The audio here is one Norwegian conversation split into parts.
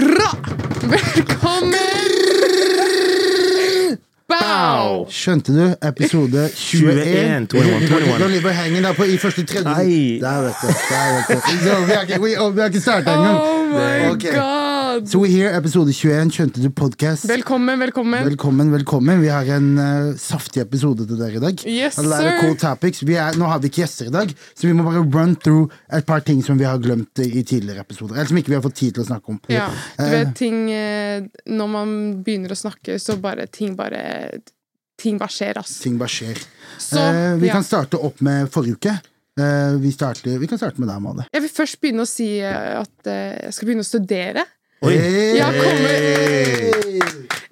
Gra! Velkommen! Bow! Skjønte du? Episode 21. 21, 21, 21. Don't leave her hanging der på i første tredje. Nei. Der, vet du. Der, vet du. Så, vi har ikke, vi- og vi har ikke starta engang. Oh my Ok. god! So here, episode 21. Skjønte du podcast? Velkommen, velkommen. Velkommen, velkommen. Vi har en eh, saftig episode til dere i dag. Yes, A lot of sir. Cool topics. Vi er, nå har vi ikke gjester i dag, så vi må bare run through et par ting som vi har glemt i i tidligere episoder. Eller som ikke vi har fått tid til å snakke om. Ja, du Eh, vet ting eh, Når man begynner å snakke, så bare ting bare Ting bare skjer, ass. ting bare skjer. Så, Eh, vi ja. kan starte opp med forrige uke. Eh, vi, starter, vi kan starte med deg, Amade. Jeg vil først begynne å si eh, at eh, jeg skal begynne å studere. Oi. Hey! Ja, kommer-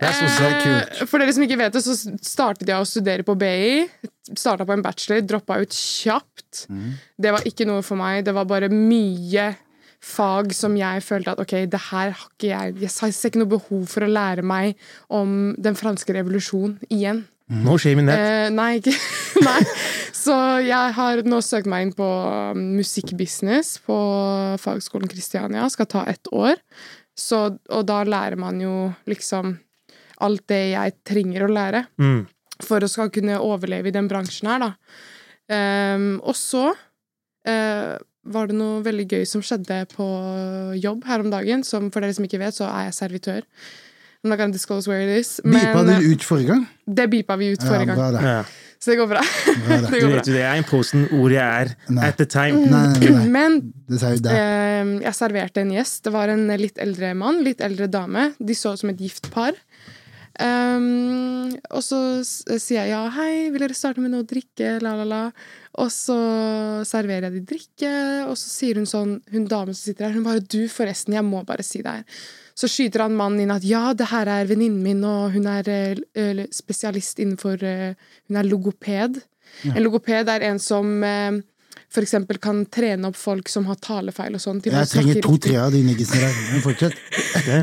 Jeg synes det er kult. Eh, For dere som ikke vet det, så startet jeg å studere på BI. Starta på en bachelor, droppa ut kjapt. Mm. Det var ikke noe for meg. Det var bare mye fag som jeg følte at ok, det her har ikke jeg Jeg ser ikke noe behov for å lære meg om den franske revolusjon igjen. No shame in that. Eh, nei, ikke Nei. Så jeg har nå søkt meg inn på um, musikkbusiness på fagskolen Kristiania. Skal ta ett år. Så, og da lærer man jo liksom alt det jeg trenger å lære Mm. for å skal kunne overleve i den bransjen her, da. Ehm, og så eh, var det noe veldig gøy som skjedde på jobb her om dagen. Som for dere som ikke vet, så er jeg servitør. I'm not gonna disclose where it is. Beepa Men eh, du ut forrige gang? det beepa vi ut forrige Ja, gang. bra det. Ja. Så det går bra. det. det Du går vet jo bra. Mm. det, jeg er i posen hvor jeg er Nei. at the time. Nei, nei, nei, nei. Men Det sa jo deg. eh, jeg serverte en gjest. Det var en litt eldre mann, litt eldre dame. De så ut som et gift par. Ehm, og så s- sier jeg ja, hei, vil dere starte med noe å drikke, la, la, la. Og så serverer jeg de drikke, og så sier hun sånn, hun damen som sitter her, hun bare du, forresten, jeg må bare si det her. Så skyter han mannen inn at ja, det her er venninnen min, og hun er eh, l- spesialist innenfor eh, Hun er logoped. En logoped er en som eh, for eksempel kan trene opp folk som har talefeil og sånn. til å Jeg snakke trenger riktig. to-tre av de niggisene der. Men fortsett.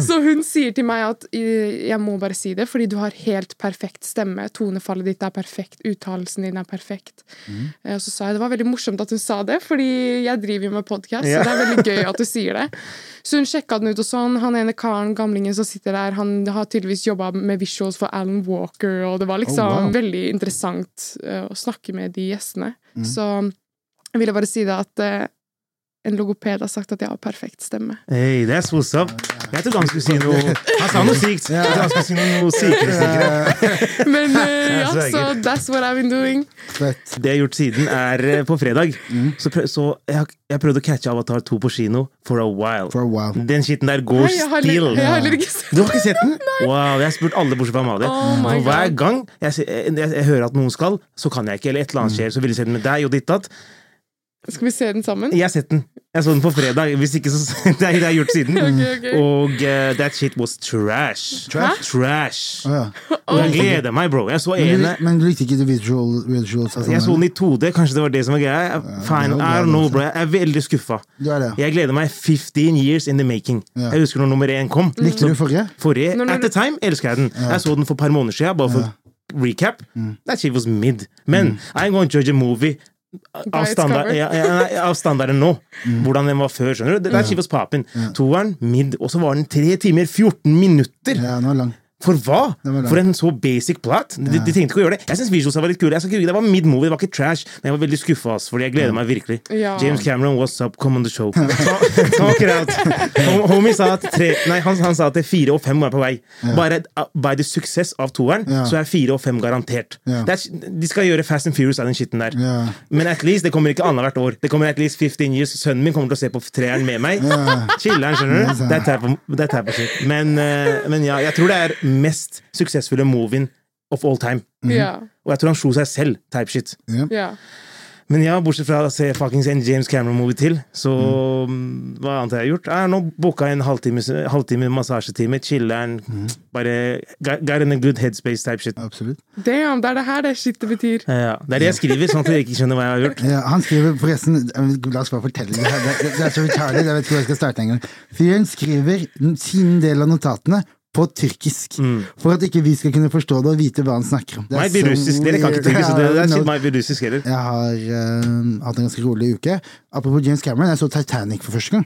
Så hun sier til meg at eh, jeg må bare si det, fordi du har helt perfekt stemme. Tonefallet ditt er perfekt, uttalelsen din er perfekt. Mm. Eh, Og så sa jeg det var veldig morsomt at hun sa det, fordi jeg driver jo med podkast, Ja. så det er veldig gøy at du sier det. Så hun sjekka den ut og sånn. Han ene karen, gamlingen som sitter der, han har tydeligvis jobba med visuals for Alan Walker, og det var liksom Oh, wow. veldig interessant eh, å snakke med de gjestene. Mm. Så jeg ville bare si det at eh, en logoped har sagt at jeg har perfekt stemme. Hey, that's what's up. Jeg trodde han skulle si noe Han sa noe sykt. Jeg trodde han skulle si noe sykere, sykere. Men eh, ja, Jeg så sverger. that's what I've been doing. Fett. Det jeg har gjort siden, er eh, på fredag. Så, prøv, så jeg, har- jeg prøvde å catche Avatar 2 på kino for a while. For a while. Den skitten der går Nei, jeg har, still. jeg har heller ikke sett Du har ikke sett den? Wow, Jeg har spurt alle bortsett fra Amalie. Oh my Og hver God. gang jeg, se- jeg, jeg, jeg hører at noen skal, så kan jeg ikke. Eller et eller annet skjer, så vil jeg se den med deg og ditt datt. Skal vi se den sammen? Jeg har sett den. Jeg så den på fredag. Hvis ikke, så Det er det jeg har gjort siden. Ok, ok. Og eh, that shit was trash. Trash? Trash. Å, ja. Og jeg gleder meg, bro. Jeg så Men du, ene. men du likte ikke the visual, visuals? altså, Jeg så men- den i 2D, kanskje det var det som var greia. Fine, det var I bra, don't know, altså. bro. Jeg er veldig skuffa. Du er det. Jeg gleder meg 15 years in the making. Ja. Jeg husker når nummer én kom. Likte du forrige? Forrige, Når- når At the du- time elsker jeg den. Jeg så den for et par måneder siden, bare for recap. Mm. That shit was mid. Men I'm going to judge a movie av, its standard, cover. Mm. ja, ja, nei, av standarden nå. Hvordan den var før. skjønner du? That shit was poppin. Toeren, mid. Og så var den 3 timer 14 minutter! Ja, nå er lang. For hva? Den var lang. For en så basic plot? De, de trengte ikke å gjøre det. Jeg syns visualsa var litt kule. Jeg skal ikke ljuge, Det var mid movie, det var ikke trash. Men jeg var veldig skuffa, fordi jeg gleder meg virkelig. Ja. James Cameron, what's up? Come on the show. Ta- Talk it out. Hom- Homie sa at tre, nei, han, han sa at det fire og fem var på vei. Bare uh, by the success av toeren, Ja. så er fire og fem garantert. Ja. Det er- de skal gjøre Fast and Furious av den skitten der. Ja. Men at least, det kommer ikke annethvert år. Det kommer at least 15 years Sønnen min kommer til å se på treeren med meg. Chiller'n, skjønner du. Det er type of- det er type of shit. Men, eh, men ja, jeg tror det er mest suksessfulle movien of all time. Ja. Og jeg tror han slo seg selv, type shit. ja. Men ja, bortsett fra å se fuckings en James Cameron-movie til, så mm, hva annet har jeg gjort? Jeg har nå booka en halvtime, halvtime massasjetime, chiller'n, bare got got in a good headspace type shit. Eh, Absolutt. Damn, det er det her det shit det betyr. Ja, det er det jeg skriver, sånn at dere ikke skjønner hva jeg har gjort. Ja, han skriver forresten eh, La oss bare fortelle det. her. Det, det, det er så retarded. Jeg vet ikke hvor jeg skal starte engang. Fyren skriver sin del av notatene på tyrkisk. Mm. For at ikke vi skal kunne forstå det og vite hva han snakker om. Det er Might be så russisk, dere kan ikke weird. tyrkisk, så det, det Ja, er no- shit might be russisk heller. Jeg har eh, hatt en ganske rolig uke. Apropos James Cameron, jeg så Titanic for første gang.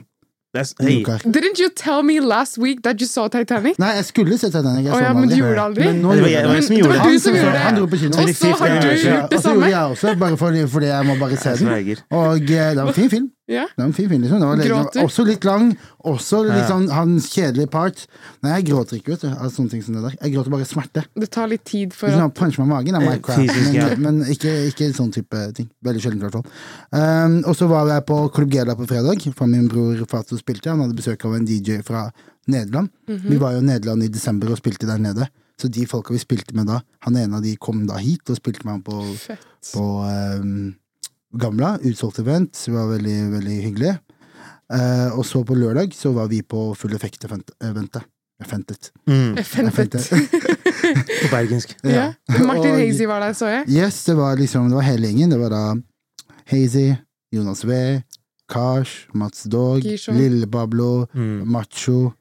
Det er s- i Hei. uka. Didn't you tell me last week that you saw Titanic? Nei, jeg skulle se Titanic. Å Jeg så ja, den men du aldri. gjorde det aldri? Men nå Det var gjorde jeg- jeg det var det. jeg som det gjorde det. var du som gjorde Han dro det. på kino. Og så har du gjort Ja, og det så gjorde samme. jeg også, bare fordi, fordi jeg må bare se Jeg den. sverger. Og eh, det var en fin film. Ja. Det var en fin film, liksom. Det var lenge. Gråter. Også litt lang. Også litt Ja. sånn hans kjedelige part. Nei, jeg gråter ikke, vet du. Av sånne ting som det der. Jeg gråter bare smerte. Det tar litt tid for Hvis å han puncher meg i magen, er Eh, my crap. fysisk, Men, ja. men ikke, ikke sånn type ting. Veldig sjelden, i hvert fall. Um, og så var jeg på Club Gela på fredag, for min bror Fato spilte. Han hadde besøk av en DJ fra Nederland. Vi var jo i Nederland i desember og spilte der nede. Så de folka vi spilte med da, han ene av de kom da hit og spilte med han på, Fett. på um, Gamla. Utsolgt event. Det var veldig, veldig hyggelig. Eh, og så på lørdag så var vi på Full Effect-eventet. Eventet. Mm, Fett. på bergensk. Ja. Martin Og- Hazy var der, så jeg. Yes, det var liksom Det var hele gjengen. Det var da Hazy, Jonas V, Kars, Mats Dog, Girson. Lille Bablo, Mm. Macho,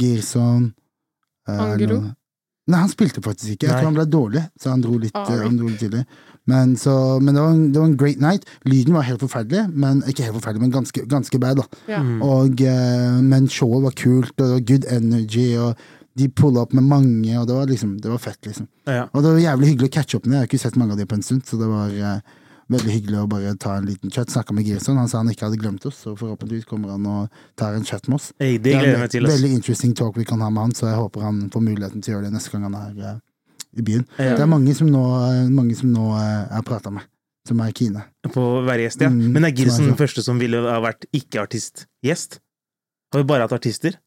Girson eh, Angelo? noen- Nei, han spilte faktisk ikke. Jeg Nei. tror han ble dårlig, så han dro litt, Ah, eh, han rip. dro litt tidlig. Men, så, men det, var en, det var en great night. Lyden var helt forferdelig, men ikke helt forferdelig, men ganske, ganske bad. da Ja. Mm. og, eh, men showet var kult, og det var good energy, og de pulla opp med mange, og det var liksom, det var fett, liksom. Ja. Og det var jævlig hyggelig å catche opp med. Jeg har ikke sett mange av de på en stund, så det var eh, veldig hyggelig å bare ta en liten chat. Snakka med Girson, han sa han ikke hadde glemt oss, så forhåpentligvis kommer han og tar en chat med oss. Hei, det gleder jeg meg til. en Ass. veldig interesting talk vi kan ha med han, så jeg håper han får muligheten til å gjøre det neste gang han er eh, i byen. Ja. Det er mange som nå, mange som nå eh, jeg har prata med, som er kine. På å være gjest, ja. Mm, Men er Gilson som er den første som ville ha vært ikke-artist-gjest? Har vi bare hatt artister?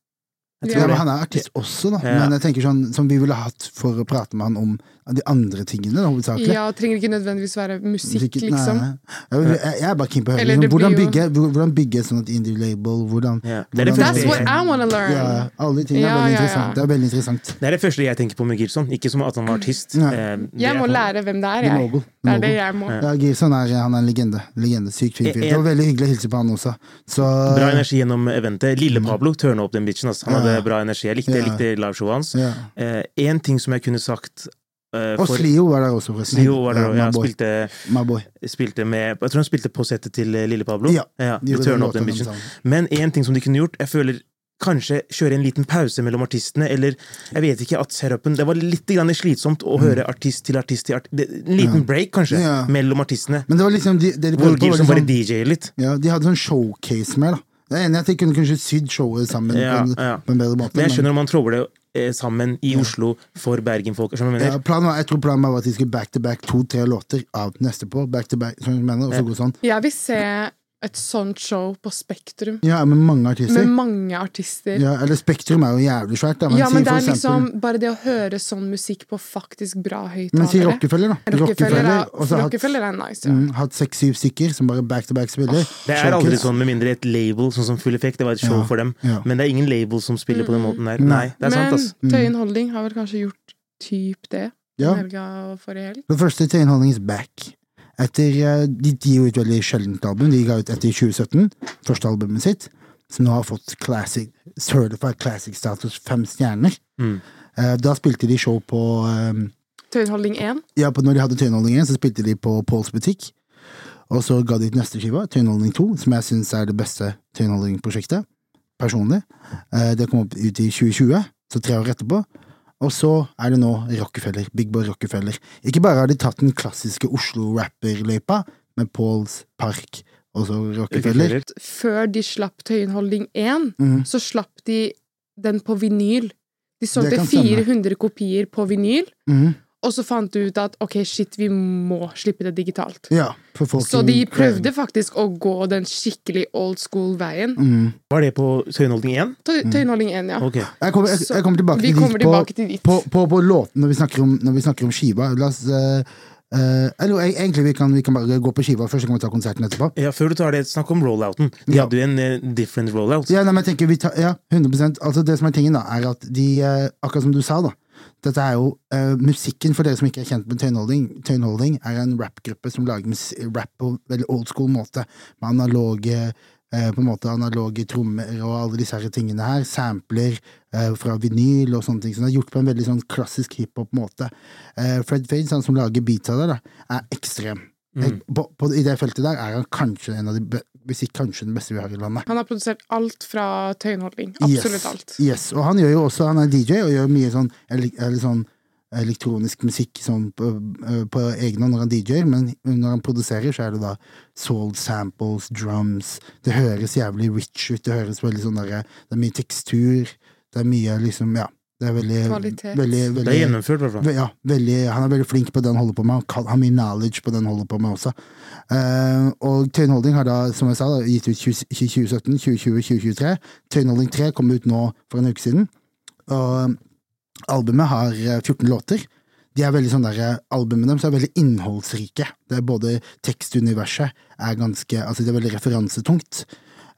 Jeg Ja, Ja, tror men det. han er artist også, da. Ja. Men jeg tenker sånn som vi ville hatt for å prate med han om de andre tingene, da, hovedsakelig. Ja, trenger ikke nødvendigvis være musikk, Sikkert- liksom. nei, Jeg, vil- jeg jeg er bare keen på å høre Eller liksom, det blir hvordan, jo- bygge, hvor- hvordan bygge et sånt indie-label. Hvordan Ja. Det er Hvordan- det That's første what jeg- I wanna ja, learn. Alle de tingene er Ja, veldig ja, ja. interessant. Det er veldig interessant. Det er det første jeg tenker på med Gilson. Ikke som at han var artist. Nei. Eh, det Jeg er må han- lære hvem det er, The jeg. Mogul. Det er det Mogul. jeg må. Ja. E- Ja, Gilson er, han er en legende. legende Sykt fin fyr. Det var veldig hyggelig å hilse på han også. Så Bra energi gjennom eventet. Lille Pablo tørna opp den bitchen. Ass. Han Mm. Ja. hadde bra energi. Jeg likte, jeg Ja. likte liveshowet hans. ja. Én ting som jeg kunne sagt eh, Og for- Slio var der også, forresten. Slio var der, og Ja, my jeg boy. spilte, My boy. spilte med Jeg tror han spilte på settet til eh, Lille Pablo. Ja. De de gjorde tørna den opp den låten bitchen. sammen. Men én ting som de kunne gjort Jeg føler kanskje kjøre en liten pause mellom artistene, eller jeg vet ikke, at setupen Det var litt grann slitsomt å høre artist til artist til artist. En liten break, kanskje, Mm. Ja. mellom artistene. Men det var liksom de, det de Hvor prøvde på, var Gibson liksom- bare DJ-er litt. Ja, de hadde sånn showcase mer, da. Jeg er enig i at de kunne kanskje sydd showet sammen Ja, på, en, ja. på en bedre måte. Men jeg skjønner om man tråler det eh, sammen i Oslo for Bergen-folk. skjønner du ja, hva jeg mener? planen var, jeg tror planen var at de skulle back to back to-tre låter av neste på. Back to back, sånn, mener, og så gå sånn. Jeg vil se et sånt show på Spektrum, Ja, med mange med artister. mange artister. Ja, eller Spektrum er jo jævlig svært, da. Men, Ja, men si det for er eksempel liksom bare det å høre sånn musikk på faktisk bra Men si høyttalere. Rockefeller, da. Rockefeller, er- og så hatt, Rockefeller er nice, ja. mm, hatt seks-syv stykker som bare back to back spiller. Det er aldri Showcase. sånn, med mindre et label, sånn som Full Effect. Det var et show Ja, for dem. ja. Men det er ingen label som spiller på den måten der. Nei, det er sant, Men ass. Mm. Tøyen Holding har vel kanskje gjort typ det Ja. den helga og forrige helg. For det første, til innholdning is back. Etter, eh, de, de gir ut veldig sjeldent album. De ga ut etter 2017, første albumet sitt, som nå har fått classic, certified classic status fem stjerner. Mm. Eh, da spilte de show på eh, Tøyen Holding 1. Ja, på, når de hadde Tøyenholdning 1, så spilte de på Pauls butikk. Og så ga de ut neste skiva, Tøyenholdning 2, som jeg syns er det beste Tøyenholdning-prosjektet. Personlig. Eh, det kom opp ut i 2020, så tre år etterpå. Og så er det nå Rockefeller. Big Boy Rockefeller. Ikke bare har de tatt den klassiske Oslo-rapperløypa med Pauls Park og så Rockefeller. Før de slapp Tøyen Holding 1, Mhm. så slapp de den på vinyl. De Det solgte kan stemme. 400 kopier på vinyl, Mhm. og så fant de ut at ok, shit, vi må slippe det digitalt. Ja, for folk Så som de krever prøvde faktisk å gå den skikkelig old school-veien. det. Mhm. Var det på Tøyenholdning 1? Tøy- Mm. Tøyenholding 1, ja. Ah. Ok. Jeg kommer, jeg, Så jeg kommer tilbake Vi til kommer dit på, tilbake til dit. på, på, på låten når vi snakker om, når vi snakker om skiva. La oss eh, Eh, eller e- egentlig, vi kan, vi kan bare gå på skiva først, så kan vi ta konserten etterpå. Ja, Før du tar det, snakk om rollouten. De Ja. hadde jo en eh, different rollout. Ja, nei, men jeg tenker vi tar, ja, 100 Altså Det som er tingen, da, er at de eh, Akkurat som du sa, da. Dette er jo eh, musikken, for dere som ikke er kjent med Tøyenholding. Tøyenholding er en rappgruppe som lager mus rap på veldig old school måte, med analoge eh, på en måte analoge trommer og alle disse her tingene her. Sampler eh, fra vinyl og sånne ting. Som er gjort på en veldig sånn klassisk hiphop-måte. Eh, Fred Fades, han som lager beatsa der, da, er ekstrem. Eh, På, på, I det feltet der er han kanskje en av de be hvis ikke kanskje den beste vi har i landet. Han har produsert alt fra tøyenholding. Yes, Absolutt alt. Yes, og han gjør jo også, han er DJ og gjør mye sånn, ele eller sånn elektronisk musikk sånn på, eh, på egen hånd når han DJ-er, men når han produserer, så er det da soul samples, drums Det høres jævlig rich ut, det høres veldig sånn derre Det er mye tekstur, det er mye liksom, ja Det er veldig Kvalitet. Veldig, Det er veldig, gjennomført, i hvert fall. ve- ja, veldig, han er veldig flink på det han holder på med. Han kan- har mye knowledge på det han holder på med også. Eh, og Tøyenholding har da, som jeg sa, da, gitt ut 20, 2017, 2020, 2023. Tøyenholding 3 kom ut nå for en uke siden. Og eh, albumet har eh, 14 låter. De er veldig sånn der, eh, Albumene deres er veldig innholdsrike. Det er både tekstuniverset er ganske Altså, det er veldig referansetungt.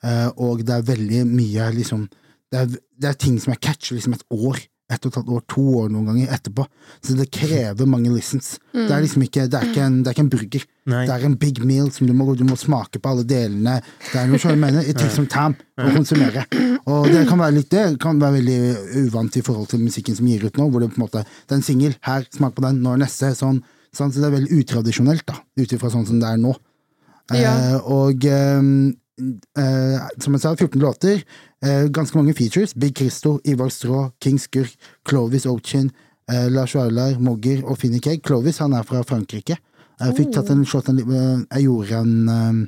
Eh, og det er veldig mye liksom det er, det er ting som jeg catcher liksom et år, ett og et halvt år, to år noen ganger etterpå. Så det krever mange listens. Det er liksom ikke, det er ikke, en, det er ikke en burger. Nei. Det er en big meal som du må, du må smake på alle delene. Det er noe som jeg mener, it takes some time å konsumere. Og det kan være litt det, kan være veldig uvant i forhold til musikken som gir ut nå, hvor det på en måte det er en singel, her, smak på den, nå er neste, sånn. sånn. Så det er veldig utradisjonelt, da, ut ifra sånn som det er nå. Ja. Eh, og eh, eh, som jeg sa, 14 låter. eh, ganske mange features. Big Christo, Ivar Strå, King Skurk, Clovis Ochin, eh, Lars Vaular, Mogger og Finny Cake. Clovis han er fra Frankrike. Jeg fikk tatt en shot en, li- eh, Jeg gjorde en eh,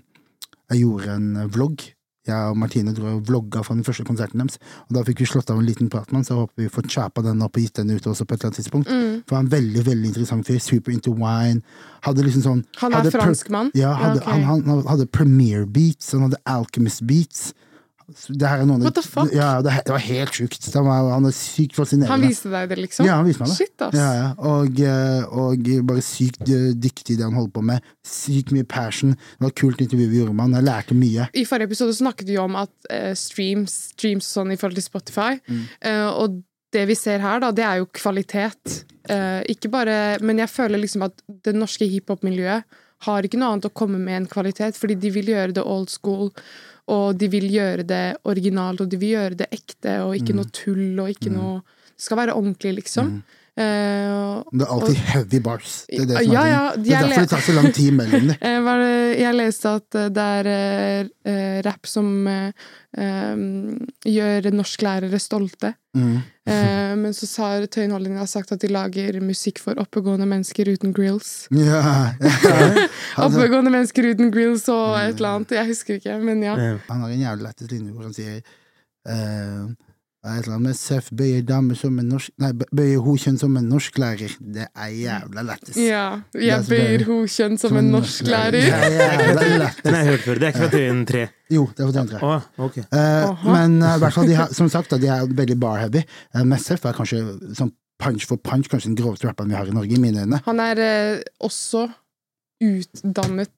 Jeg gjorde en eh, vlogg. Jeg og Martine dro og vlogga fra den første konserten deres. Og da fikk vi slått av en liten prat med han, så jeg håper vi får chapa den opp og gitt den ut også på et eller annet tidspunkt. Mm. For han er en veldig veldig interessant fyr. Super into wine. Hadde liksom sånn Han er hadde per- franskmann? Ja, hadde, Ok. han, han hadde Premiere Beats, han hadde Alchemist Beats. Så Det her er noen What the fuck? Ja, det, he- det var helt sjukt. Han, var, han er sykt fascinerende. Han viste deg det, liksom? Ja, han viste meg det. Shit, ass. Ja, ja. Og, eh, og bare sykt eh, dyktig i det han holder på med. Sykt mye passion. Det var et kult intervju vi gjorde med han. Jeg lærte mye. I forrige episode snakket vi om at eh, streams, streams og sånn i forhold til Spotify. Mm. Eh, og det vi ser her, da, det er jo kvalitet. Eh, ikke bare Men jeg føler liksom at det norske hiphop-miljøet har ikke noe annet å komme med enn kvalitet, fordi de vil gjøre det old school, og de vil gjøre det originalt, og de vil gjøre det ekte, og Mm. ikke noe tull, og ikke noe Det skal være ordentlig, liksom. Eh, Det er alltid heavy bars. Det er, det som Ja, er, ja, tingen. de det er er derfor det tar så lang tid mellom dem. Eh, var det, jeg leste at eh, det er eh, eh, rapp som eh, em, gjør norsklærere stolte. Mm. Eh, men så sa Tøyenholdingen har sagt at de lager musikk for oppegående mennesker uten grills. Ja, ja. Han, Oppegående mennesker uten grills og et eller annet. Jeg husker ikke, men ja. Eh, han har en jævlig lættis linje hvor han sier eh, hva er et eller annet med Seff bøyer dame som en norsk Nei, bø- bøyer hokjønn som en norsklærer. Det er jævla lættis. ja. er Jeg så bøyer deilig. hokjønn som en Det norsklærer. er jævla lættis. Den har jeg hørt før. Det er ikke fra Tøyen 3. Jo, det var den tre. Å, ok. Eh, Aha. men eh, i hvert fall, de har, som sagt, da, de er veldig bar-heavy. Uh, Messef er kanskje sånn punch for punch, kanskje den groveste rapperen vi har i Norge, i mine øyne. Han er eh, også utdannet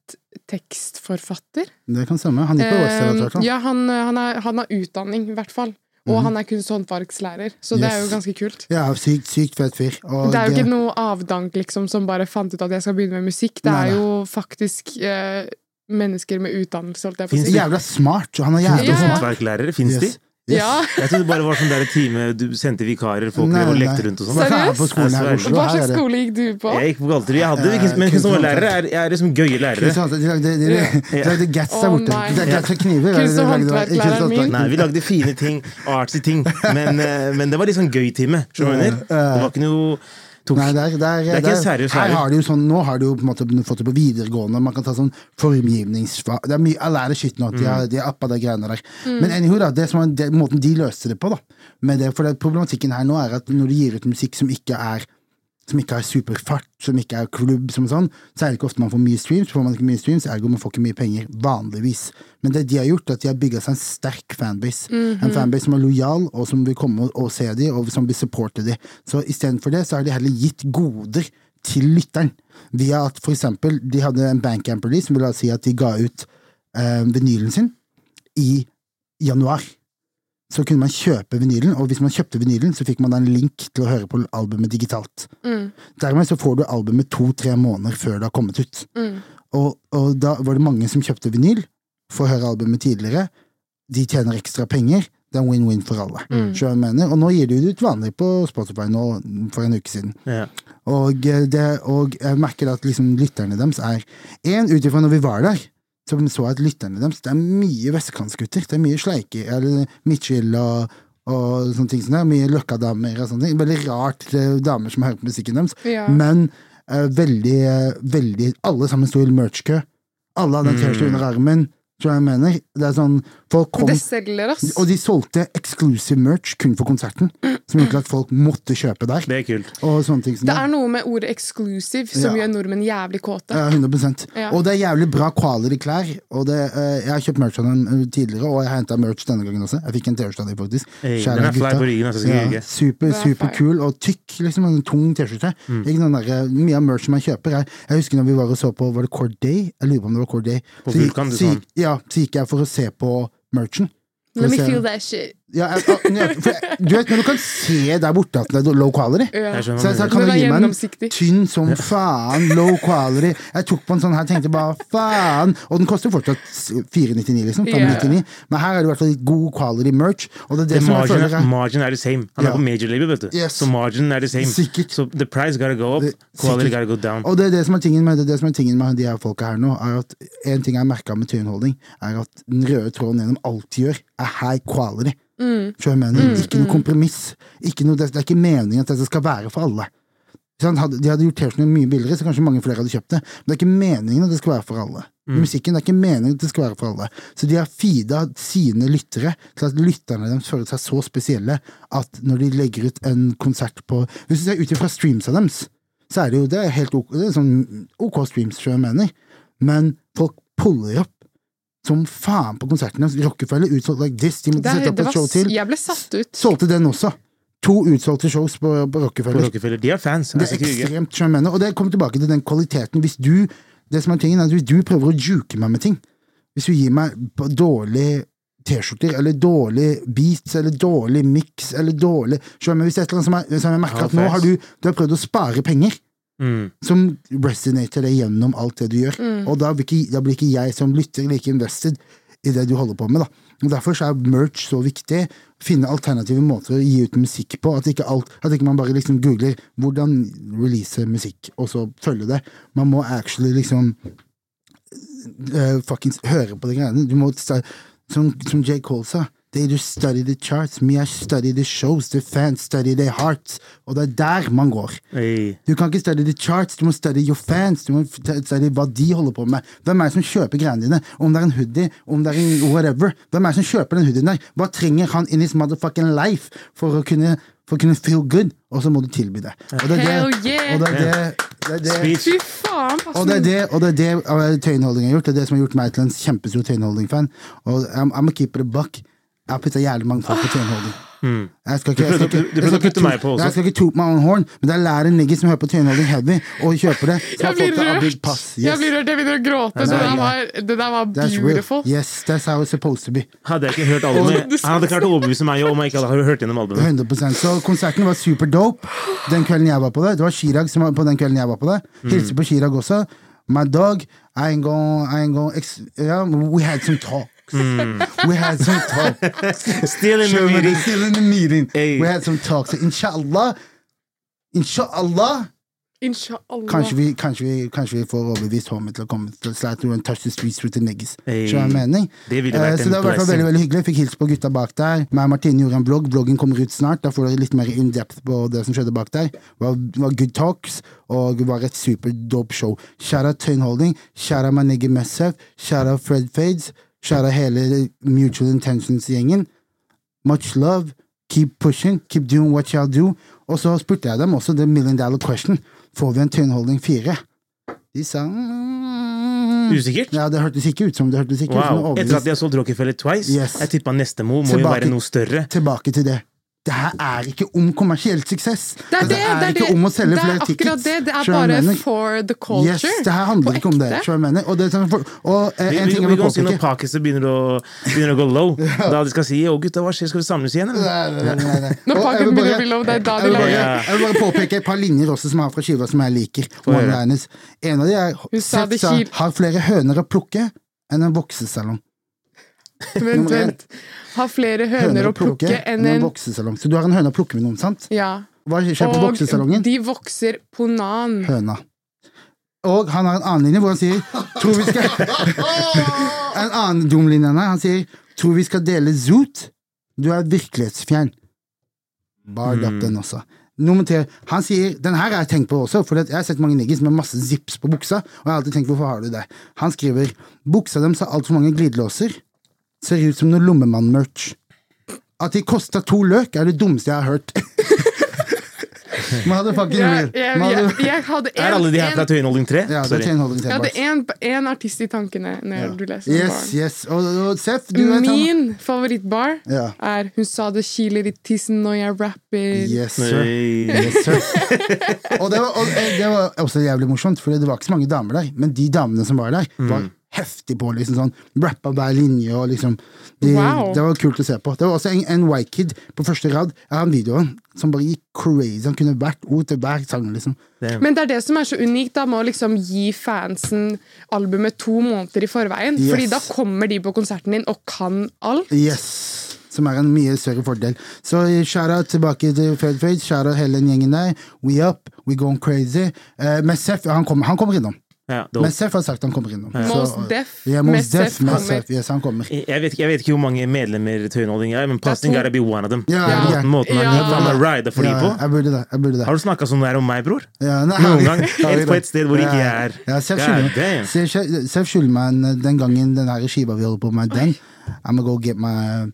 tekstforfatter. Det kan stemme. Han gikk på Westerdal, Eh, tror jeg. Mhm. ja, han, han, er, han har utdanning, i hvert fall. Og han er kunst- og håndverkslærer, så det er jo Yes. ganske kult. Ja, sykt, sykt fet fyr. Og, Det er jo eh, ikke noe avdank liksom, som bare fant ut at jeg skal begynne med musikk. Det Nei, er nei. jo faktisk eh, mennesker med utdannelse, holdt jeg på å Finnes si. det- Jævla smart, og han er Finnes jævla det Ja, ja. smart. håndverklærere? Fins de? Yes. Yes. Ja, Jeg trodde det bare var sånn der time du sendte vikarer, folk Nei, drev og nei. lekte rundt og Hva sånn. faen er det på skolen her i Seriøst? Oslo? Hva Her er slags det- skole gikk du på? Jeg gikk på Galterud. Jeg hadde Eh, ikke, men kunst- kunstnerlærere er, er liksom gøye lærere. Kristiansand, De lagde, de, de, de lagde Gats der Å, borte. nei. De lagde Gats og kniver. eller Kunst- og de lagde- ikke håndverklæreren sant, min. Nei, vi lagde fine ting, artsy ting, men, eh, men det var litt sånn gøy time. Skjønner du hva jeg mener? Det var ikke noe tok. Eh, Nei, der, der, Det er ikke der, en seriøs her lærer. har de jo sånn, Nå har de jo på en måte fått det på videregående. Man kan ta sånn formgivningsfag Det er mye Jeg lærer shit nå. De Mm. har, de har appa de greiene der. Mm. Men anywho, da, det som er, det, måten de løste det på, da med det, For det, problematikken her nå er at når du gir ut musikk som ikke er som ikke har superfart, som ikke er klubb, som sånn, så er det ikke ofte man får mye streams. Får man ikke mye streams, ergo man får ikke mye penger, vanligvis. Men det de har gjort, er at de har bygga seg en sterk fanbase. En fanbase som er lojal, og som vil komme og, og se de, og som vil supporte de. Så istedenfor det, så har de heller gitt goder til lytteren. Via at for eksempel, de hadde en Bandcamp-release, som vil da si at de ga ut eh, vinylen sin i januar. Så kunne man kjøpe vinylen, og hvis man kjøpte vinylen, så fikk man da en link til å høre på albumet digitalt. Mm. Dermed så får du albumet to-tre måneder før det har kommet ut. Mm. Og, og da var det mange som kjøpte vinyl for å høre albumet tidligere. De tjener ekstra penger. Det er en win-win for alle. Mm. Skjønner du hva jeg mener. Og nå gir de det ut vanlig på Spotify nå for en uke siden. Ja. Og, eh, det, og jeg merker at liksom lytterne deres er En, ut ifra når vi var der, så så jeg at lytterne deres Det er mye vestkantsgutter. Det er mye sleiker, eller midtskill og, og sånne ting som det. Mye løkkadamer og sånne ting. Veldig rart eh, damer som hører på musikken deres. Ja. Men eh, veldig, eh, veldig Alle sammen sto i merch-kø. Alle hadde en T-skjorte under armen. Tror jeg jeg mener. Det er sånn, folk kom Det selger, ass. Og de solgte exclusive merch kun for konserten. Som gjorde at folk måtte kjøpe der. Det er kult. Og sånne ting som Det er noe med ordet 'exclusive' som Ja. gjør nordmenn jævlig kåte. Ja, 100 Ja. Og det er jævlig bra quality klær. Og det, eh, jeg har kjøpt merch av dem eh, tidligere, og jeg har henta merch denne gangen også. Jeg fikk en T-skjorte av dem, faktisk. Hey, Kjære den er fly gutta. på ryggen, altså, skal jeg ja, ikke. super, Det er super fire. kul og tykk, liksom. En tung T-skjorte. Mm. Ikke den derre- Mye av merchen man kjøper, er Jeg husker når vi var og så på Var det Cord Day? Jeg lurer på om det var Cord Day. På Så gikk- Vulkan, du så sa. gikk- Ja, så gikk jeg for å se på merchen. Let me Skal vi se. feel that shit. Ja, jeg, jeg, for jeg, du vet når du kan se der borte at det er low quality? Ja. Jeg skjønner Så jeg hva sa, kan du mener. Men du det gi er meg gjennomsiktig. en tynn som faen, low quality? Jeg tok på en sånn her, tenkte bare faen. Og den koster fortsatt 499, liksom. 599. Men her er det i hvert fall god quality merch. Og det er det, som jeg Margin, føler er margin er the same. Han Ja. er på major label, vet du. Yes. Så margin er the same. Sikkert. Så the price gotta go up, Det- quality sikkert. gotta go down. og det er det som er tingen med, det er det som er tingen med de her folka her nå, er at en ting jeg merka med Tynholding, er at den røde tråden gjennom alt de gjør, er high quality. Skjønner du hva jeg mener? Ikke noe kompromiss. Ikke noe, det det er ikke meningen at dette skal være for alle. Ikke sant? Hadde- De hadde gjort T-skjortene mye billigere, så kanskje mange flere hadde kjøpt det. Men det er ikke meningen at det skal være for alle. Mm. Musikken det er ikke meningen at det skal være for alle. Så de har feeda sine lyttere til at lytterne deres føler seg så spesielle at når de legger ut en konsert på Hvis du ser ut ifra streams av deres, så er det jo det er helt ok, det er sånn ok streams, tror jeg jeg mener. Men folk puller opp som faen på konserten deres. Rockefeller utsolgt like this, de måtte Det, er- sette opp det et var, show s- til. jeg ble satt ut. Solgte den også. To utsolgte shows på, på På Rockefeller. Rockefeller. De er fans. Det altså, er ikke ljuge. ekstremt sjarmerende, og det kommer tilbake til den kvaliteten. Hvis du, det som er tingen, er at hvis du prøver å juke meg med ting, hvis du gir meg b- dårlig T-skjorter, eller dårlig beats, eller dårlig mix, eller dårlig Skjønner du, men Hvis det er et eller annet som, er, som jeg merker Ja, at nå har facts. du, du har prøvd å spare penger, Mm. som resonater det gjennom alt det du gjør, og da blir, ikke, da blir ikke jeg som lytter like invested i det du holder på med, da. Og Derfor så er merch så viktig. Finne alternative måter å gi ut musikk på. At ikke, alt, at ikke man bare liksom googler 'hvordan release musikk', og så følge det. Man må actually liksom eh, fuckings høre på de greiene. Du må sta- som, som J. Cole sa. They just study the charts. Me, I study the shows. The fans study their hearts. Og det er der man går. Hey. Du kan ikke study the charts, du må study your fans. Du må st- study hva de holder på med. Hvem er det som kjøper greiene dine? Om det er en hoodie, om det er en whatever. Hvem er det som kjøper den hoodien der? Hva trenger han in his motherfucking life for å kunne, for å kunne feel good? Og så må du tilby det. Og det er Hell det, yeah! og det, er det, det, er det Speech. Fy faen, og det er passen. det, og det, er det eh, Tøyenholding har gjort. Det er det som har gjort meg til en kjempestor Tøyenholding-fan. Og I'm, I'm a keeper of buck. Jeg har putta jævlig mange folk på Tøyenholding. Jeg skal ikke, jeg skal Mm. Du prøvde- ikke, jeg du- du skal prøvde å ikke putte to- meg på også. Nei, Jeg skal ikke toot my own horn, men det er lærer nigger som hører på Tøyenholding Heavy, og kjøper det. Så Jeg har fått blir det av Big rørt. Pass. Jeg Yes. blir rørt, jeg begynner å gråte. Det Nei, der nei. var, det der var That's real. beautiful. Yes, that's how it's supposed to be. Hadde jeg ikke hørt albumet Han hadde klart å overbevise meg om jeg ikke hadde hørt gjennom albumet. 100 Så konserten var super dope den kvelden jeg var på det. Det var Chirag som var på den kvelden jeg var på det. Mm. Hilser på Chirag også. My dog, I ain't gonna, I ain't gonna ex yeah, We had some talks. We had some talks. Still in Mm. the Sherman meeting. is still in the meeting. Hey. We had some talks. Inshallah. Inshallah. Inshallah. Kanskje vi, kanskje, vi, kanskje vi får overbevist homie til å komme til Slat through and touch the streets with the niggas. Hey. Skjønner du hva jeg mener? Det ville Eh, vært så det en var i hvert fall veldig, blessing. veldig hyggelig. Fikk hilse på gutta bak der. Meg og Martine gjorde en blogg. Bloggen kommer ut snart. Da får dere litt mer in depth på det som skjedde bak der. Det var, det var good talks, og det var et super dope show. Kjære Tøyen Holding, kjære my nigger Messef, kjære Fred Fades, kjære hele Mutual Intentions-gjengen. Much love. Keep pushing. Keep doing what y'all do. Og så spurte jeg dem også the million dollar question. Får vi en Tøyenholding 4? De sa mm. Usikkert? Ja, det hørtes ikke ut som det hørtes ikke ut som Wow. det Etter at overbeviste. de har solgt Rockefeller twice, Yes. jeg tippa neste move må jo Tilbake- være noe større. Tilbake til det. det her er ikke om kommersiell suksess. Det er det! Altså, det er det er ikke det. om å selge det er flere tickets. akkurat det. Det skjønner er du hva jeg bare mener? for the culture. Yes, det her handler På ikke om det. ekte. skjønner du hva jeg mener? Og, det, er sånn for- og eh, Vi, en vi, ting vi jeg vil kan si når påpeke Pakistan begynner å, begynner å gå low. Da de skal si 'Å, gutta, hva skjer? Skal vi samles igjen?' eller? Nei, nei, nei, nei. Når Og jeg Pakistan vil begynner å bare- bli low, det er da de jeg vil, bare, lager Ja. jeg vil bare påpeke et par linjer også som er fra skiva som jeg liker. Få høre. One Liners. En av de er Hun sa det Setsa kil- har flere høner å plukke enn en voksesalong. Vent, Nummer én. vent. Har flere høner å plukke enn en voksesalong. Så du har en høne å plukke med noen, sant? Ja. Hva skjer på Og voksesalongen? de vokser på nan. Høna. Og han har en annen linje hvor han sier Tror vi skal En annen dum linje han har. Han sier Tror vi skal dele zoot? Du er virkelighetsfjern. Bard up den også. Nummer tre. Han sier Den her har jeg tenkt på også, for jeg har sett mange niggis med masse zips på buksa, og jeg har alltid tenkt hvorfor har du det? Han skriver Buksa deres har altfor mange glidelåser. Ser ut som noe Lommemann-merch. At de kosta to løk, er det dummeste jeg har hørt. Man hadde fucking Jeg, jeg, Man jeg, hadde- jeg hadde en, Er alle de her fra en, Tøyenholding 3? Ja, det er Sorry. Tøyenholding jeg hadde T-bars. en, en artist i tankene når du leser den Yes, baren. yes. Og, og Seth, du vet han Min favorittbar Ja. er Hun sa det kiler i tissen når jeg rapper. Yes, sir. Nei. Yes, sir. og det var, og eh, det var også jævlig morsomt, for det var ikke så mange damer der. Men de damene som var der, Mm. var heftig på. liksom sånn, Rappa hver linje og liksom de, Wow. Det var kult å se på. Det var også en, en white kid på første rad Jeg har en video av han, som bare gikk crazy. Han kunne hvert ord til hver sang. liksom. Men det er det som er så unikt, da, med å liksom gi fansen albumet to måneder i forveien. Yes. Fordi da kommer de på konserten din og kan alt. Yes! Som er en mye større fordel. Så eh, shout-out tilbake til Fred Fade. Shout-out hele den gjengen der. We up, we going crazy. Eh, men Seth, han kommer, han kommer innom. Ja, dope. Men Seff har sagt han kommer innom. Mos Så- Def Ja, med Mos Def Seff med kommer. Seff. Yes, han kommer. jeg vet, ikke, jeg vet ikke hvor mange medlemmer Tøyenholding er, men Pasting to. gotta be one of them. Ja, Det er ja. Måten, måten han Ja. faen meg rider for Ja, de på. jeg burde det. jeg burde det. Har du snakka sånn der om meg, bror? Ja, nei, Noen gang? Ja, Et på et sted hvor ikke jeg er. Ja, Seff God skylder damn. Seff- Seff skylder meg en, den gangen den her skiva vi holder på med, den. I'm gonna go get my,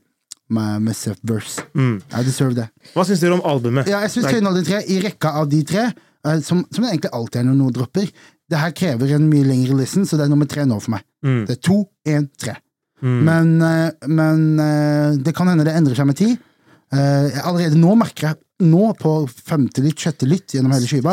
my, my Seff verse. Mm. I deserve det. Hva syns dere om albumet? Ja, jeg syns Like, Tøyenholding 3, i rekka av de tre, eh, som, som det egentlig alltid er når noe dropper Det her krever en mye lengre listen, så det er nummer tre nå for meg. Mm. Det er to, én, tre. Men, eh, men eh, det kan hende det endrer seg med tid. Eh, jeg Allerede nå merker jeg Nå, på femte lytt, sjette lytt gjennom hele skiva,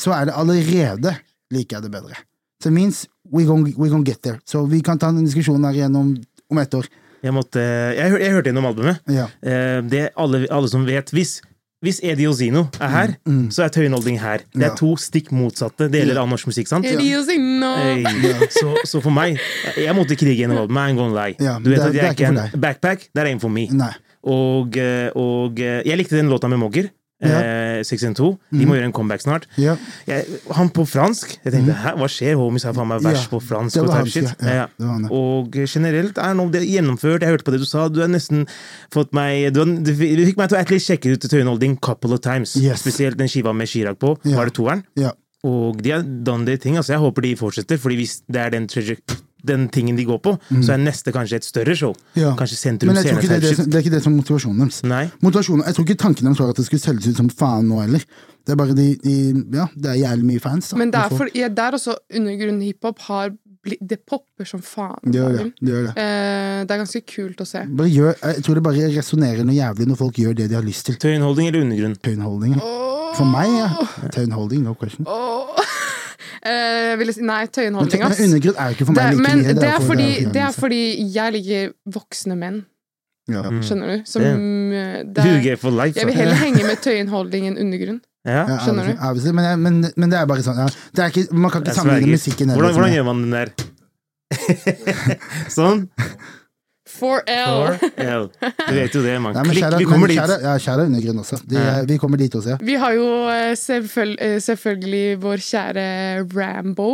så er det allerede liker jeg det bedre. Så it means we gonna, we gonna get there. Så vi kan ta en diskusjon her igjen om, om ett år. jeg, måtte, jeg, hør- jeg hørte gjennom albumet. Ja. Eh, Det alle, alle som vet Hvis, hvis Eddie Ozino er her, Mm. så er Tøyenholding her. Det Ja. er to stikk motsatte deler av norsk musikk, sant? Er de å si nå? Hey. Så, så for meg Jeg måtte krige gjennom albumet. I'm gonna lie. Ja, du det vet er- at det er jeg ikke ikke er for en backpack. Det er en for meg. Nei. Og, eh, og eh, jeg likte den låta med Mogger. Eh, 612. De må gjøre en comeback snart. Mm. Ja. Mm. Jeg, han på fransk Jeg tenkte hæ, hva skjer? Homies har faen meg vers Ja, på fransk. det Og var type shit han, ja. Ja, Ja, ja. det var han, ja. Og generelt er nå det gjennomført. Jeg hørte på det du sa. Du har nesten fått meg Du, har, du fikk du fikk meg til å at least sjekke ut Tøyenholding couple of times. Yes. Spesielt den skiva med Chirag på. Ja. Var det toeren? Ja. Og de har done their ting. Altså, jeg håper de fortsetter, Fordi hvis det er den, traje- den tingen de går på, så er neste kanskje et større show. Mm. Ja. Kanskje sentrum Mm. Men jeg tror ikke scene det, er det, type som- shit. det er ikke det som er motivasjonen deres. Nei. Motivasjonen, Jeg tror ikke tanken deres var at det skulle selges ut som faen nå heller. Det er bare de, de Ja, det er jævlig mye fans. Da. Men det er, Hvorfor? for, ja, det er også undergrunnen hiphop har blitt Det popper som faen. om Det gjør det. dagen. det, gjør det. Eh, det er ganske kult å se. Bare gjør, jeg tror det bare resonnerer noe jævlig når folk gjør det de har lyst til. Tøyenholding eller undergrunn? Tøyenholding. ja. For meg, ja. Tøyenholding, no question. Åh. Eh, jeg ville si- nei, Men Tøyenholdning, ass. Det, undergrunn er jo ikke for meg like men mye. det er, for- fordi, for det er jævlig. fordi jeg liker voksne menn, Ja. skjønner du? Som, eh, Mm. det er- Huge for life. jeg vil altså. heller henge med Tøyenholdning enn undergrunn. Ja. Ja, Skjønner du? obviously- obviously, Men, jeg- men, men det er bare sånn ja. det er ikke, Man kan ikke Jeg sammenligne sverger. musikken liksom. heller Hvordan, som hvordan det. gjør man den der? sånn. 4L. L. Du vet jo det, man. Nei, men Klikk, kjære, vi kommer men dit. kjære, ja, kjære undergrunn også. De, Ja. Vi kommer dit også, ja. Vi har jo eh, selvføl eh, selvfølgelig vår kjære Rambo.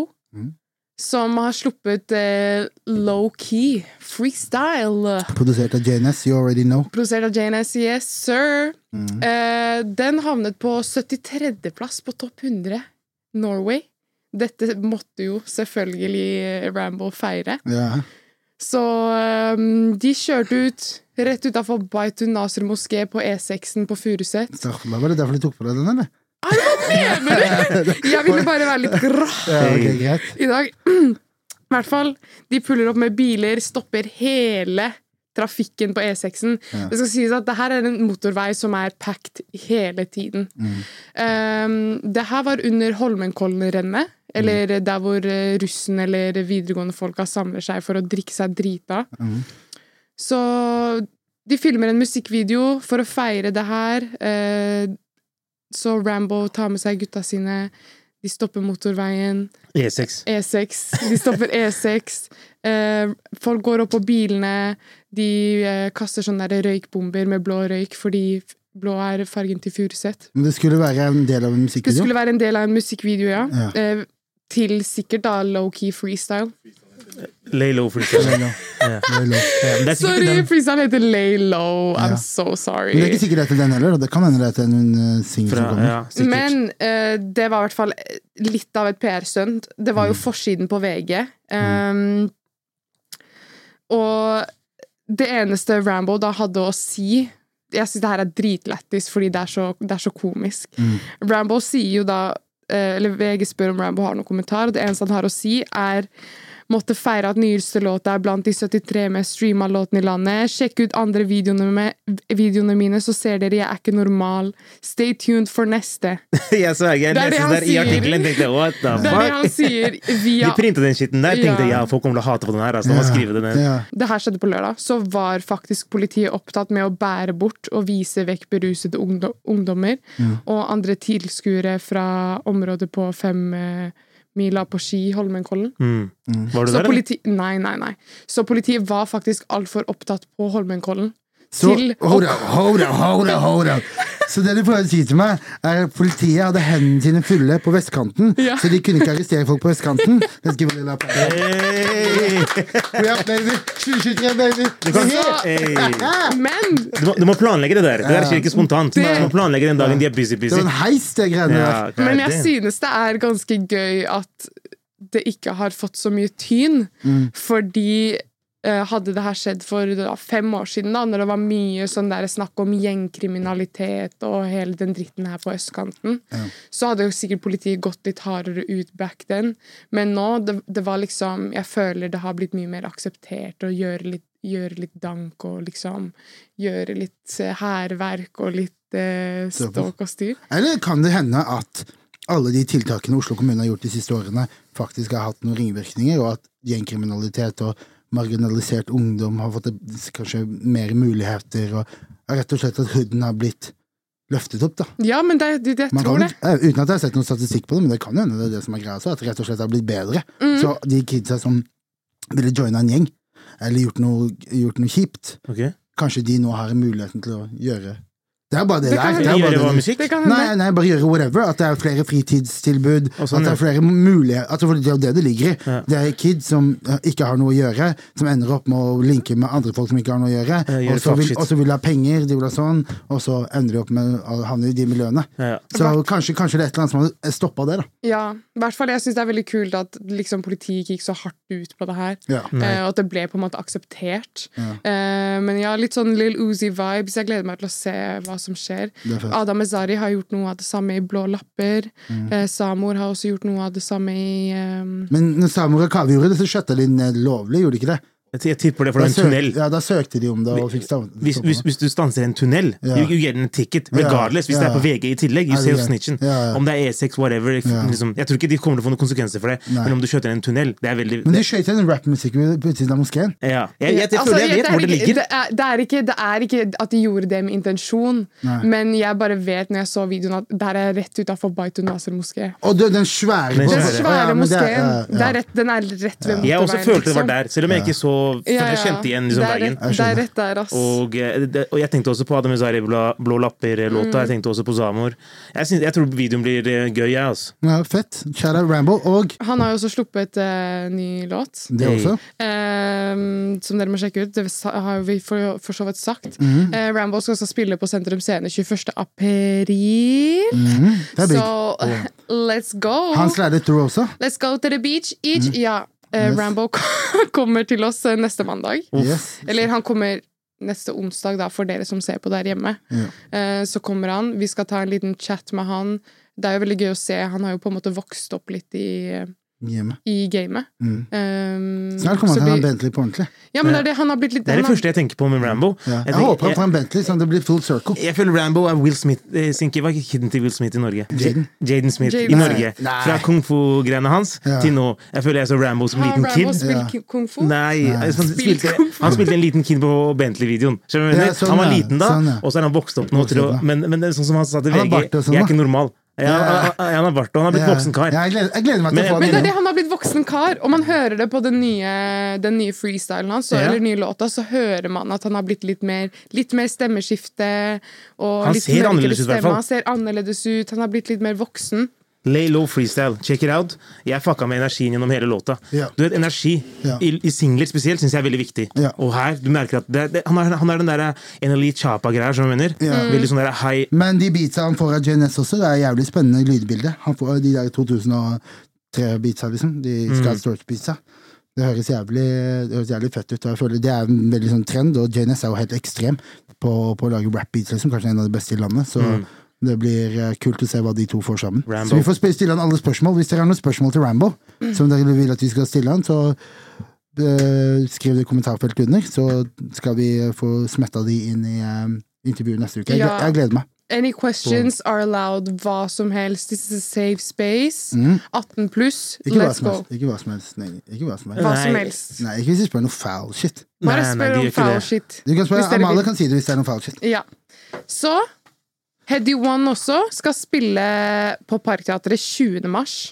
Som har sluppet eh, Low Key Freestyle. Produsert av JNS, you already know. Produsert av JNS, yes sir. Eh, den havnet på 73.-plass på topp 100 Norway. Dette måtte jo selvfølgelig Rambo feire. Ja. Så eh, de kjørte ut rett utafor Baitun Nasr moské på E6-en på Furuset. Straffbar, var det derfor du tok på deg den, eller? Mener du? Jeg ville bare være litt grå Ja, ok, greit. i dag. I hvert fall, de puller opp med biler, stopper hele trafikken på E6-en. Det skal sies at det her er en motorvei som er packed hele tiden. Um, det her var under Holmenkollen-rennet, eller der hvor eh, russen eller videregående folka samler seg for å drikke seg drita. Så de filmer en musikkvideo for å feire det her. eh, Så Rambo tar med seg gutta sine. De stopper motorveien. E6. E6. E De stopper E6. Eh, folk går opp på bilene. De eh, kaster sånne der røykbomber med blå røyk fordi f- blå er fargen til Furuset. Men det skulle være en del av en Det musikkvideo. skulle være en del av en musikkvideo, ja. Ja. Eh, til sikkert da low-key freestyle. Lay low for det. Lay low. Lay low. Ja. Det er sikkert Sorry, den. freestyle heter lay low. I'm Ja. so sorry. Men det er ikke sikkert det er til den heller. og Det kan hende det er til en eh, singel Fra, som kommer. ja, sikkert. Men eh, det var i hvert fall litt av et PR-stunt. Det var jo forsiden på VG. Um, Og det eneste Rambo da hadde å si Jeg syns det her er dritlættis, fordi det er så, det er så komisk. Rambo sier jo da eh, Eller VG spør om Rambo har noen kommentar, og det eneste han har å si, er Måtte feire at nyeste låt er blant de 73 mest streama låtene i landet. Sjekk ut andre videoene, med, videoene mine, så ser dere jeg er ikke normal. Stay tuned for neste. Jeg sverger, jeg Det er det leste han det der i sier. artikkelen tenkte jeg, what the Det er det han fuck? sier via De printa den skitten der, tenkte jeg, Ja. ja, folk kommer til å hate på den her. Altså, de må skrive den ned. Ja. Det her skjedde på lørdag. Så var faktisk politiet opptatt med å bære bort og vise vekk berusede ungdo- ungdommer og andre tilskuere fra området på femmila på Ski, Holmenkollen. Mm. Var Så du der, eller? politi nei, nei, nei. Så politiet var faktisk altfor opptatt på Holmenkollen. Så, Til- hold up, hold up, hold up, hold up. Så det du prøver å si til meg, er at politiet hadde hendene sine fulle på vestkanten, Ja. så de kunne ikke arrestere folk på vestkanten. Let's give a little applause. Hey! We up, baby. 2023, baby. Du kan- Så- Hey! Ah, Men Du må, du må planlegge det der. Det der skjer ikke spontant. Du Det- må planlegge den dagen de er Det var busy-busy. en heis, det greiene der. Men jeg synes det er ganske gøy at det ikke har fått så mye tyn, fordi eh, hadde det her skjedd for da, fem år siden, da, når det var mye sånn der snakk om gjengkriminalitet og hele den dritten her på østkanten, så hadde jo sikkert politiet gått litt hardere ut back then. Men nå, det, det var liksom Jeg føler det har blitt mye mer akseptert å gjøre litt, gjøre litt dank og liksom gjøre litt eh, hærverk og litt eh, ståk og styr. Eller kan det hende at alle de tiltakene Oslo kommune har gjort de siste årene, faktisk har hatt noen ringvirkninger, og at gjengkriminalitet og marginalisert ungdom har fått kanskje mer muligheter, og rett og slett at hooden har blitt løftet opp, da. Ja, men det, det, jeg Man tror kan, det. eh, uten at jeg har sett noen statistikk på det, men det kan jo hende det er det som er greia. Så at det rett og slett har blitt bedre. Mm. Så de kidsa som ville joina en gjeng, eller gjort noe, gjort noe kjipt, Ok. kanskje de nå har muligheten til å gjøre Det er bare det Det det kan er. hende Det er Kan bare det de gjøre hva det er. musikk? Det kan Nei, hende. nei, bare gjøre whatever. At det er flere fritidstilbud. Og sånn, at det ja. er flere muligheter. Altså, for det er jo det det ligger i. Ja. Det er kids som eh, ikke har noe å gjøre, som ender opp med å linke med andre folk som ikke har noe å gjøre. Eh, gjør Og så fuck vil, shit. og så vil de ha penger, de vil ha sånn, og så ender de opp med å havne i de miljøene. Ja, ja. Så kanskje, kanskje det er et eller annet som har stoppa det, da. Ja, i hvert fall jeg synes det er veldig kult at liksom, politiet ikke gikk så hardt ut på det her. Ja. eh, Og at det ble på en måte akseptert. Eh, men ja, litt sånn Lill Uzi-vibes. Jeg gleder meg til å se hva som skjer. Det er fett. Adam Ezari har gjort noe av det samme i Blå lapper. Mm. Eh, Samor har også gjort noe av det samme i eh, Men når samer og kave gjorde det, så skjøtta de ned lovlig, gjorde de ikke det? Jeg- Jeg tipper det, for Da, det er en tunnel. søkte, ja, da søkte de om det og fikk stav- Hvis, stoppa hvis, det. hvis du stanser en tunnel, Ja. you, you get en ticket. Regardless, hvis Ja. det er på VG i tillegg. You Ja, save det er- snitchen. ja, ja. Om det er E6, whatever. Liksom, jeg tror ikke de kommer til å få noen konsekvenser for det. Nei. Men om du skjøter en tunnel, det er veldig Men de skjøt en rapmusikk på utsiden av moskeen. ja. jeg, jeg, jeg, Altså, føler jeg vet er hvor det ikke- ligger. Det er, det, er ikke, det er ikke at de gjorde det med intensjon, Nei. men jeg bare vet når jeg så videoen at der er rett utafor Baitun Nasser moské. Og det, den svære Den på- Den svære. Ja, svære men det er- moskeen. ja, ja. Det er rett, den er rett ved motorveien. Jeg også følte det var liksom. der, selv om jeg ikke så For Ja, jeg ja. kjente igjen liksom, det er veien. rett, det er rett der, ass. Og, eh, det, og jeg tenkte også på Adam Ezari Blå, Blå Mm. lapper-låta. Jeg tenkte også på Zamor. Jeg, syns- jeg tror videoen blir eh, gøy, jeg, altså. Ja, fett. Shout out Rambo. Og Han har jo også sluppet eh, ny låt, det Hey. også. eh, som dere må sjekke ut. Det sa- har vi for, for så vidt sagt. Mhm. Eh, Rambo skal også spille på Sentrum Scene 21. april. Mhm, det er big. Så let's go! Han slidet through også. Let's go to the beach each Ja, eh, Yes. Rambo kommer til oss eh, neste mandag. Yes. Eller han kommer neste onsdag, da, for dere som ser på der hjemme. Ja. Eh, Så kommer han. Vi skal ta en liten chat med han. Det er jo veldig gøy å se. Han har jo på en måte vokst opp litt i eh, Hjemme. i gamet. Mm. Um, Snart kommer så han til å ha en vi- Bentley på ordentlig. Ja, men det er det, han har blitt litt Det er det han har- første jeg tenker på med Rambo. Ja. Jeg Jeg, håper han tenker, får en Bentley, sånn at det blir full circle. jeg, jeg føler Rambo er Will Smith eh, sin kid var ikke kiden til Will Smith i Norge. Jaden. Jaden Smith Jaden. i Norge. Nei. Fra kung fu-greiene hans Ja. til nå. Jeg føler jeg så Rambo som Har liten Rambo kid. Ja. spilt ki- kung fu? Nei, eh, Han, spilte, Spilte kung fu. han spilte en liten kid på Bentley-videoen. Skjønner du hva jeg Ja, mener? sånn, han var ja. liten da, Sånn, ja. og så er han vokst opp nå. Vokst Til å, opp, ja. men, men det er sånn som han sa til Han har VG, bart og sånn, jeg er da. ikke normal. Jeg, jeg, jeg, han er bart, og han har blitt Ja. voksen kar. Ja, jeg, gleder, jeg gleder meg til Men- å få men Men det er den det, innom. han har blitt voksen kar, og man hører det på den nye, den nye freestylen hans, så, Ja. eller den nye låta, så hører man at han har blitt litt mer, litt mer stemmeskifte. Og Han litt ser mørkere annerledes ut, i hvert stemme. fall. Han ser annerledes ut, han har blitt litt mer voksen. Lay low freestyle. Check it out. Jeg fucka med energien gjennom hele låta. Ja. Du vet, Energi Ja. i, i singler spesielt syns jeg er veldig viktig. Ja. Og her, du merker at det, det, han, er, han er den derre Eneli Chapa-greia, som jeg mener. Ja. Veldig sånn derre high Men de beatsa han får av JNS også, det er jævlig spennende lydbilde. Han får de der 2003-beatsa, liksom. De Scott Storch-beatsa. Det høres jævlig, det høres jævlig fett ut. og jeg føler Det er en veldig sånn trend, og JNS er jo helt ekstrem på, på å lage rap-beats, liksom. Kanskje en av de beste i landet. Så det blir eh, kult å se hva de to får sammen. Rambo. Så vi får sp- stille han alle spørsmål. Hvis dere har noen spørsmål til Rambo, som dere vil at vi skal stille han, så eh, skriv det i kommentarfeltet under, så skal vi eh, få smetta de inn i eh, intervjuet neste uke. Jeg, Ja. gle- jeg gleder meg. Any questions are allowed, hva som helst. This is a safe space. 18 pluss, Mhm. Ikke hva let's som go. helst. Ikke hva som helst. Nei, ikke hva som helst. Hva Nei. som helst. Nei, ikke hvis du spør noe foul shit. Bare Nei, nei, de spør gjør om ikke foul det. shit. Du kan spørre, Hvis dere Amalie vil. kan si det hvis det er noe foul shit. Ja. Så Heady One også skal spille på Parkteatret 20. mars.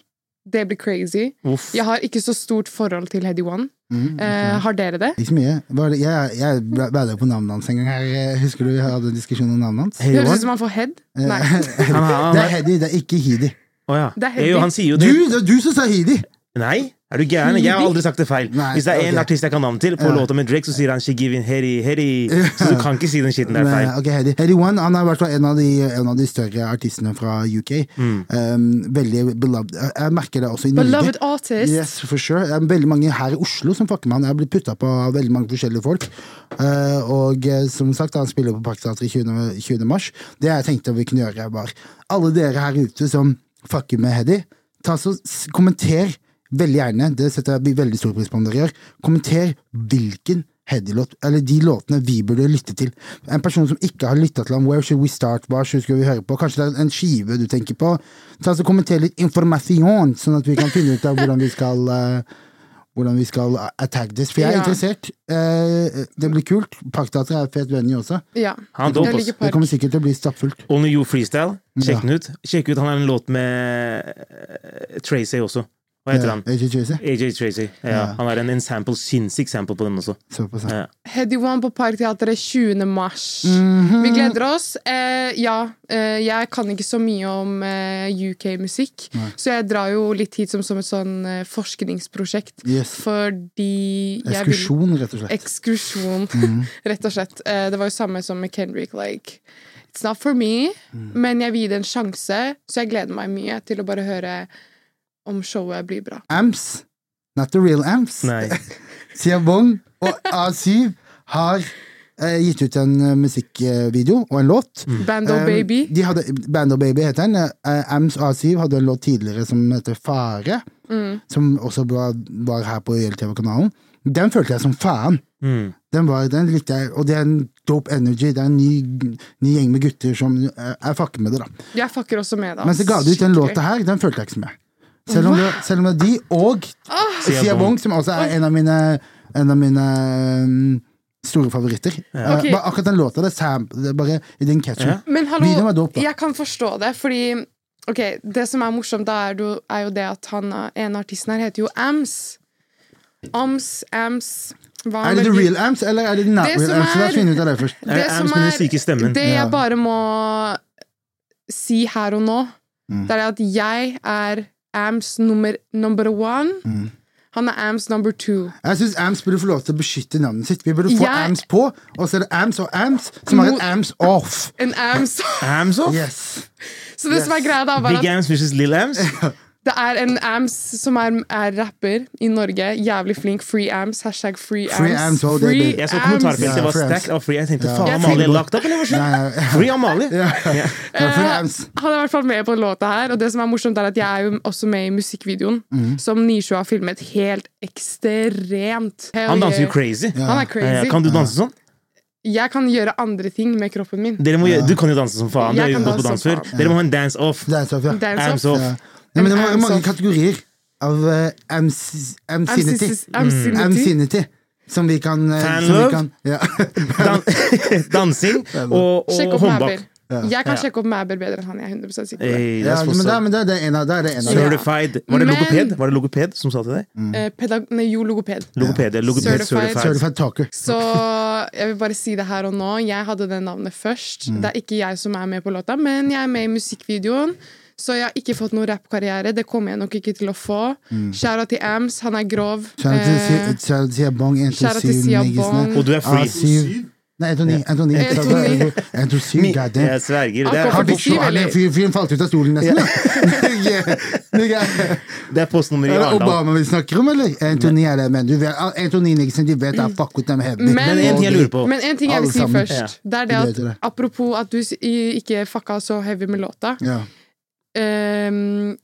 Det blir crazy. Uff. Jeg har ikke så stort forhold til Heady One. Mhm, Eh, har dere det? Ikke så mye. Hva er det- Jeg, jeg bæla på navnet hans en gang her. eh, Husker du vi hadde en diskusjon om navnet hans? Hey, Høres Johan. ut som han får head. Nei. Eh, Han, han, det er han, Heddy, det er ikke Heedy. Å ja. Det er Eh, jo, han sier jo det. Du, det er du som sa Heedy! Nei, er du gæren? Jeg har aldri sagt det feil. Nei, Hvis det er en ok. artist jeg kan navnet til, på Ja. låta med Drake, så sier han 'she giving heri, heri'. Så du kan ikke si den skitten der feil. Men, ok, Heady. Heady One han er i hvert fall en av de, en av de større artistene fra UK. Mm. Um, veldig beloved. Jeg- Jeg merker det også i Norge. Beloved artist. Yes, for sure. Det er veldig mange her i Oslo som fucker med han. Jeg er blitt putta på av veldig mange forskjellige folk. Eh, og eh, som sagt, han spiller på Parkteatret 20. 20. mars. Det jeg tenkte vi kunne gjøre, var alle dere her ute som fucker med Heddy, ta så s- kommenter veldig gjerne, det setter jeg veldig stor pris på om dere gjør, kommenter hvilken Heddy-låt, eller de låtene vi burde lytte til. En person som ikke har lytta til ham, Where Should We Start, hva skal vi høre på? Kanskje det er en skive du tenker på? Ta så Kommenter litt informasjon, sånn at vi kan finne ut av hvordan vi skal eh, hvordan vi skal attack this. For jeg er Ja. interessert. Eh, det blir kult. Parkteatret er et fet venue også. Ja. Han dope Jeg oss. liker Det park. kommer sikkert til å bli stappfullt. Only You Freestyle. Sjekk Ja. den ut. Sjekk ut, Han har en låt med eh, Tracy også. Hva heter han? Eh, AJ Tracy. AJ Tracy. Ja, han har en ensample, sinnssyk sample på den også. Såpass, ja. Ja. Heady One på Parkteatret 20. mars. Mhm. Mm. Vi gleder oss. Eh, ja, eh, jeg kan ikke så mye om eh, UK-musikk, så jeg drar jo litt hit som, som et sånn eh, forskningsprosjekt. Yes. Fordi jeg vil Ekskursjon, Mm. rett og slett. Ekskursjon, rett og slett. Eh, Det var jo samme som med Kendrick. Like, it's not for me, Mm. men jeg vil gi det en sjanse, så jeg gleder meg mye til å bare høre om showet blir bra. Amps. Not the real amps. Nei. Sia Wong og A7 har eh, gitt ut en eh, musikkvideo og en låt. Bando Um, Baby. De hadde, Band of Baby heter den. Eh, Ams og A7 hadde en låt tidligere som heter Fare, som også var, var her på YLTV-kanalen. Den følte jeg som faen. Mm. Den, var, den likte jeg, og det er en dope energy. Det er en ny, ny gjeng med gutter som eh, Jeg fucker med det, da. Jeg fucker også med det. Men så ga de ut den låta her, den følte jeg ikke så mye. Selv om, det, selv om det er de, og Sia Wong, som også er en av mine, en av mine um, store favoritter. Eh, Ok. bare akkurat den låta, det er sam- det er bare i den catchen. Ja. Men Videoen var hallo, dope, da. jeg kan forstå det, fordi Ok, det som er morsomt, da er, jo- er jo det at han eh, en av artisten her heter jo Ams. Ams, Ams hva han Er det the velger- real amps, eller er det the not Det real som amps? La oss er- finne ut av det først. Er det Ams med den syke stemmen? Det Ja. jeg bare må si her og nå, Mm. det er at jeg er Ams nummer number one. Mm. Han er Ams number two. Jeg syns Ams burde få lov til å beskytte navnet sitt. Vi burde få Jeg- Ams på, og så er det Ams og Ams som har et Mot- Ams off. En Ams. Ams off? Yes. Så det som er Yes. greia, da, var Big at Ams versus Lill Ams? Det er en AMS som er, er rapper i Norge. Jævlig flink. Free AMS. Hashtag free AMS. Free AMS, oh, det- Free det- Jeg så kommentarfeltet, det var Ja, stacked av Free. Jeg tenkte Ja. faen, Jeg Amalie tenkte- er lagt opp, eller hva skjer? Nei, nei, Free Amalie! Ja. Ja. ja, for AMS. Han er i hvert fall med på låta her, og det som er morsomt er at jeg er jo også med i musikkvideoen, som Nishu har filmet helt ekstremt. Hell Han danser jo yeah. crazy. Han er Eh, crazy. Kan du danse sånn? Jeg kan gjøre andre ting med kroppen min. Dere må, gjøre- Du kan jo danse som faen. Jeg Dere er jo kan godt på danse som dansfør. Dere må ha en dance-off. Det er så, ja. Dance Arms off. off. Ja. Nei, men det var AMS mange off. kategorier av eh, AMS AMSinity. Amsinity. Mm. Amsinity. AMSinity. Som vi kan eh, Fan som vi love? kan- Ja. Dan dansing og, Sjekk og opp Mæber. håndbak. Jeg kan Ja. Eh. sjekke opp Mæber bedre enn han. Jeg er 100 sikker på det. Hey, Ja, that's what's men da, up. men da, det er en av det er det ene. Så- Certified. Var Men- det logoped Var det logoped som sa til deg? Eh, pedag nei, jo, logoped. Logoped, ja. logoped Certified. certified. Certified talker. Så jeg vil bare si det her og nå. Jeg hadde det navnet først. Mm. Det er ikke jeg som er med på låta, men jeg er med i musikkvideoen. Så jeg har ikke fått noen rappkarriere. Det kommer jeg nok ikke til å få. Shoutout til Ams. Han er grov. Mm. Shout out til Eh, Si- shout out til Sia Bong, 1, 2, shout out til 7, Sia Bong. Og du er free. Ah, syv. Nei, 129. 129. 127, god damn. Jeg sverger. Det Akkurat. er, Har du På syv, så- han er- eller? fyren- Fyren falt ut av stolen nesten. da. Yeah. Det er- det er postnummeret i Er det Arendal. Obama vi snakker om, eller? 129 er det, men du vet, 129 Nixon, de vet at fuck with dem heavy. Men- Men en ting jeg lurer på. Men en ting jeg vil Alle si sammen. først. Det er det Det at heter det. Apropos at du s- i- ikke fucka så heavy med låta. Ja. Ehm,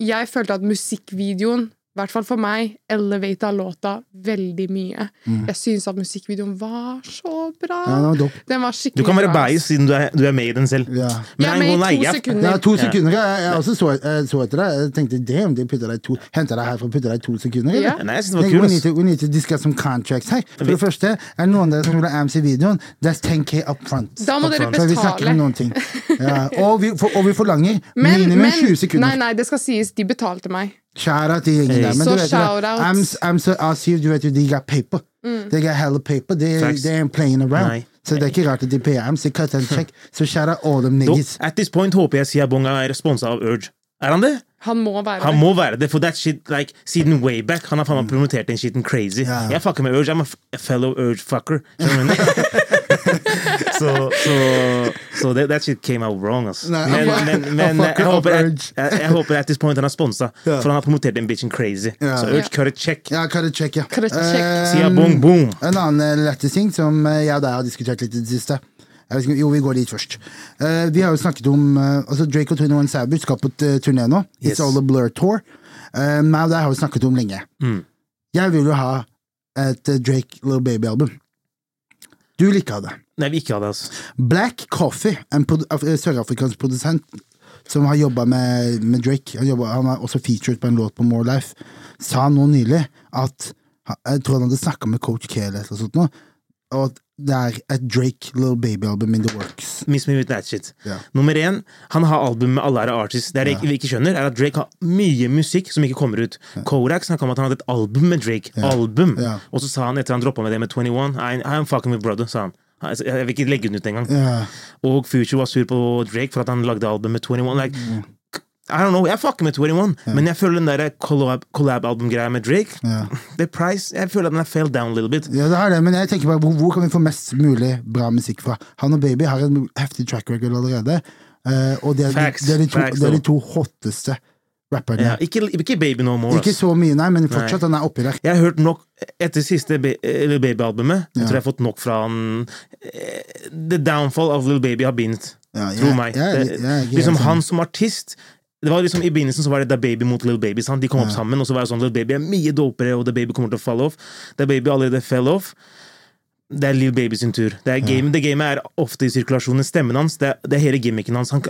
jeg følte at musikkvideoen, i hvert fall for meg, elevata låta veldig mye. Jeg syns at musikkvideoen var så bra. Mm. ja, det var dope. Den var skikkelig Du kan være bra. bias siden du er, du er med i den selv. Ja. Men Jeg I'm er med gonna i lie, to jeg- sekunder. Ja, to sekunder. Jeg, jeg også så, jeg så etter deg. Jeg tenkte damn, de putta deg to Henta deg herfra og putta deg i to sekunder. eller? Ja. Nei, jeg synes Nei, det var We kul. need, ass. to, we need to discuss some contracts her. For det første, er det noen av dere som vil ha AMS i videoen, that's 10K up front. Da må Up dere front. Så vi snakker betale. om noen ting. Ja, og, vi, for, og vi forlanger Men, minimum men 20 Nei, sekunder. nei, det skal sies, de betalte meg. Shout-out til gjengen der. Men Så du vet jo shout Mm. det, out. AMS, AMS og A7, du vet jo, de got paper. They got hella paper. They, Facts. they ain't playing around. Nei. Så det er ikke rart at de payer AMS. They cut and check. Så shout-out all them Dog, niggas. At this point håper jeg Sia Bonga er responsa av Urge. Er han det? Han må være Han det. må være det, for that shit, like, siden way back Han har faen meg promotert den shiten crazy. Ja. Jeg fucker med Urge. I'm a f- a fellow Urge fucker. Skjønner du hva jeg mener? Så så så that, that shit came out wrong, ass. Nei, Men, han- men, han men fucker jeg, opp håper at, Urge. jeg, jeg håper at this point han har sponsa, Ja. for han har promotert den bitchen crazy. Ja. Så Urge, Ja. cut a check. Ja, cut and check, ja. Cut and check. Eh, Sia bong boom. En annen eh, lættis ting som eh, jeg og deg har diskutert litt i det siste. Jeg vet ikke, jo, vi går dit først. Eh, vi har jo snakket om eh, altså Drake og 21 Savage skal på t- turné nå. It's Yes. All a Blur Tour. Uh, meg og deg har vi snakket om lenge. Jeg vil jo ha et eh, Drake Little Baby-album. Du vil ikke ha det. Nei, vi ikke hadde, altså. Black Coffee, en produ- af- eh, sørafrikansk produsent som har jobba med, med Drake, han, jobbet, han er også featured på en låt på More Life, sa nå nylig at han- Jeg tror han hadde snakka med coach K eller noe sånt, nå, og at det er et Drake Little Baby-album in the works. Miss me with that shit. Ja. Nummer én, han har album med alle ære artists. Det er det vi ikke skjønner, er at Drake har mye musikk som ikke kommer ut. Kodak snakka om at han hadde et album med Drake. Album! Ja. Og så sa han etter han droppa med det med 21, I, I'm fucking with brother, sa han. Altså, Jeg vil ikke legge den ut engang. Ja. Og Future var sur på Drake for at han lagde album med 21. Like, I don't know, Jeg fucker med 21, men jeg føler den der collab- collab-album-greia med Drake Ja. The price, Jeg føler at den er fell down a little bit. ja, det er det, men jeg tenker bare, hvor, hvor kan vi få mest mulig bra musikk fra? Han og Baby har en heftig track record allerede, eh, og det er, Facts, det er, de, to, facts, det er de da. to hotteste rapperne. Ja. Ikke, ikke Baby No More. Ikke ass. så mye, nei, men fortsatt, han er oppi der. Jeg har hørt nok etter siste Ba- eh, Lil Baby-albumet. Jeg Ja. tror jeg har fått nok fra han eh, The downfall of Lil Baby har begynt. Ja, jeg- tro meg. jeg er Det- litt- jeg er ikke liksom helt sånn. Han som artist det var liksom I begynnelsen så var det Da Baby mot Lil Baby. Sant? De kom opp sammen, og så var det sånn Lil Baby er mye dopere, og Da Baby kommer til å falle off. Da Baby allerede fell off. Det er Lil Baby sin tur. Det er game, det gamet er ofte i sirkulasjonen. Stemmen hans, det er, det er hele gimmicken hans. Han,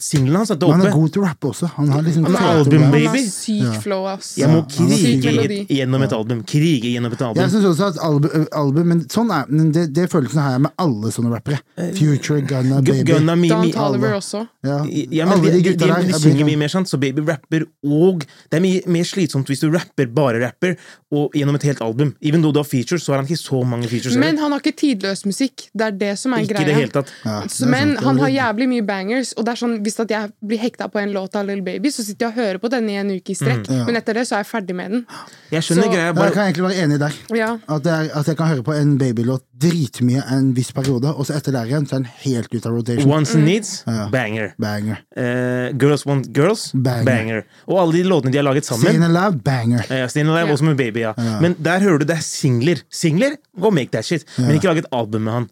Singelen hans er Men han dope. er god til å rappe også. Han har liksom Han er klart å album- rappe. Han har Baby. syk flow, ass. Jeg må han er syk krige melodi. gjennom et album. Krige gjennom et album. Jeg syns også at album, album Men sånn er men det, det følelsen har jeg med alle sånne rappere. Future, Gunna, Eh, Gu- Baby. Gunna, Mi- Dan Mi- Toliver også. Ja. Ja, men alle de, de de, de, gutta der. de jeg synger blir- mye mer, sant? så Baby rapper, og det er mye mer slitsomt hvis du rapper, bare rapper, og gjennom et helt album. Even though du har features, så har han ikke så mange features. Men Men han har ikke tidløs musikk. Det er det som er Ikke i det greia. hele tatt. Ja, det Så, er men sant. han har jævlig mye bangers, og det er sånn, hvis at jeg blir hekta på en låt av Little Baby, så sitter jeg og hører på den i en uke i strekk, Mm. Ja. men etter det så er jeg ferdig med den. Jeg skjønner Så- greia, Ja, Jeg bare kan egentlig være enig der. Ja. At, det er, at jeg kan høre på en babylåt dritmye en viss periode, og så etter der igjen så er den helt ute av rotation. Once Mm. and Needs, Ja. banger. Banger. Eh, girls Want Girls, Banger. banger. Og alle de låtene de har laget sammen. Staying Alive, banger. Ja, Stine Live, Ja. også med Baby, ja. Men der hører du det er singler. Singler, go make that shit. Men ikke lag et album med han.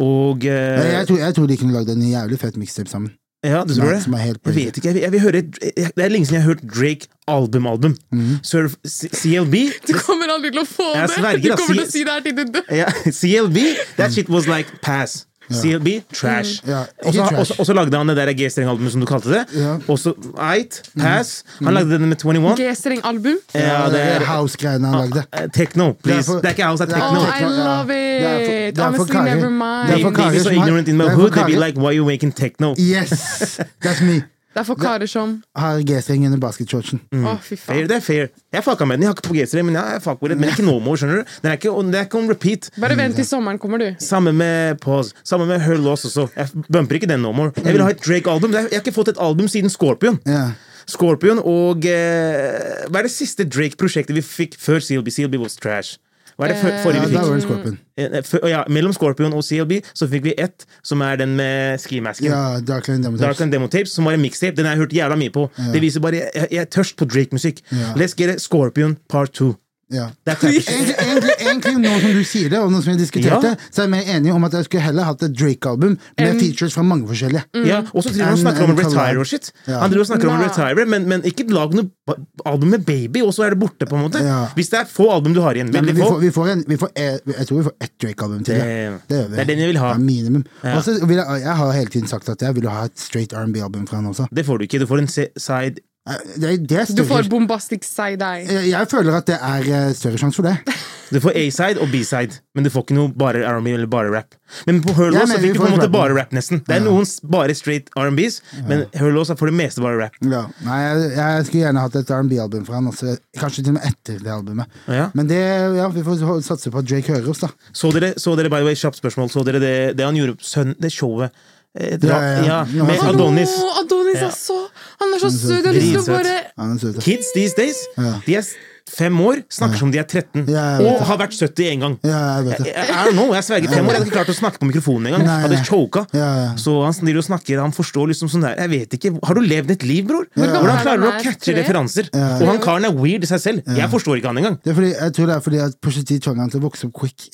Og Jeg, eh, jeg, tror, jeg tror de kunne lagd en jævlig fet mixtape sammen. Ja, du Som tror er- det? som er helt Jeg vet ikke. Jeg vil, jeg vil høre et- jeg, Det er lenge siden jeg har hørt Drake album-album. Mhm. Surf C- CLB Du kommer aldri til å få Jeg det! sverger, Du ass. kommer til å si det her til du dør. ja, CLB, that shit was like pass. CLB, trash. Mhm. Ja, ikke Og så- trash. og så- Og så lagde han det der G-streng-albumet som du kalte det. Ja. Mhm. Og så Eit, pass. Han lagde den med 21. G-streng-album. Ja, det er Eh, House-greiene han lagde. Eh, Techno, please. for- Det er ikke house, det er det er techno. Oh, Tekno, I ja. love Det er for- it! det er for Honestly, Kari. never Det er They, for mind. they be so karer som har- ignorant in my det er for hood, they be karer. like, why you making techno? Yes! That's me. Det er for karer som Har G-strengen i basketshortsen. Mm. Å, fy Fair, faen. det er fair. Jeg fucka med den. Jeg har ikke på G3, men jeg fuck with it. Men ikke no more, skjønner du? Den er ikke, og den er ikke on repeat. Bare vent til sommeren kommer, du. Samme med Pause. Samme med Her Loss også. Jeg bumper ikke den no more. Jeg vil ha et Drake-album. Jeg jeg har ikke fått et album siden Scorpion. Ja. Scorpion og eh, Hva er det siste Drake-prosjektet vi fikk før CLB? CLB was trash. Hva er det for, Ja, forrige vi da var fikk? det Scorpion. Eh, før- ja, mellom Scorpion og CLB så fikk vi ett, som er den med skimasken. Ja, Darkland Dark Demotape. and Demo Tapes, som var en mixtape. Den har jeg hørt jævla mye på. Det viser bare Jeg, jeg er tørst på Drake-musikk. Ja. Let's get it Scorpion part two. Ja. Det er typisk. Egentlig, egentlig, egentlig, nå som du sier det, og nå som vi diskuterte, Ja. så er jeg mer enig om at jeg skulle heller hatt et Drake-album med En- Mm. features fra mange forskjellige. Ja, og så driver han og En- snakker om en retire Mm. collab. og shit. Ja. Han driver og snakker om Nei. retire, men, men ikke lag noe ba- album med Baby, og så er det borte, på en måte. Ja. Hvis det er få album du har igjen. Ja, men Veldig vi få. får, vi får en, vi får, eh, jeg tror vi får ett Drake-album til. ja. Det- gjør vi. det er den jeg vil ha. Ja, minimum. Ja. Og så vil jeg, jeg har hele tiden sagt at jeg vil ha et straight R&B-album fra han også. Det får du ikke. Du får en se- side Eh, Det, det er Du større, Eh, får bombastic side-eye. jeg, jeg føler at det er eh, større sjanse for det. Du får A-side og B-side, men du får ikke noe bare R&B eller bare rap. Men på Jeg Hurlås mener så vi fikk du på en får måte rappen. bare rap, nesten. Det er noen s- bare straight R&Bs, men Hurlås er for det meste bare rap. Ja. Nei, jeg, jeg skulle gjerne hatt et R&B-album fra han også. Kanskje til og med etter det albumet. Ja. Men det, ja, vi får ho- satse på at Drake hører oss, da. Så dere, så dere by the way, kjapt spørsmål, så dere det, det han gjorde sønn, det showet eh, dra, Ja, ja, ja, ja. altså, Nå har med jeg sett det. Adonis? Hallo, Adonis er så Han er så søt! Jeg har lyst til å Dritsøt. bare Han er søt, da. Kids these days, de er s- fem år, snakker som de er 13, Ja, jeg vet og det. har vært 70 en gang. Ja, jeg vet det. Jeg, jeg, er nå, jeg sverger fem år, jeg hadde ikke klart å snakke på mikrofonen engang. Nei, Hadde nei. choka. Ja, ja. Så han driver og snakker, han forstår liksom sånn der Jeg vet ikke, Har du levd et liv, bror? gammel Hvordan er klarer han du å her? catche Tre? referanser? Og han karen er weird i seg selv. Jeg forstår ikke han engang. Det er fordi, jeg tror det er fordi at Pusha T tvang han til å vokse opp quick.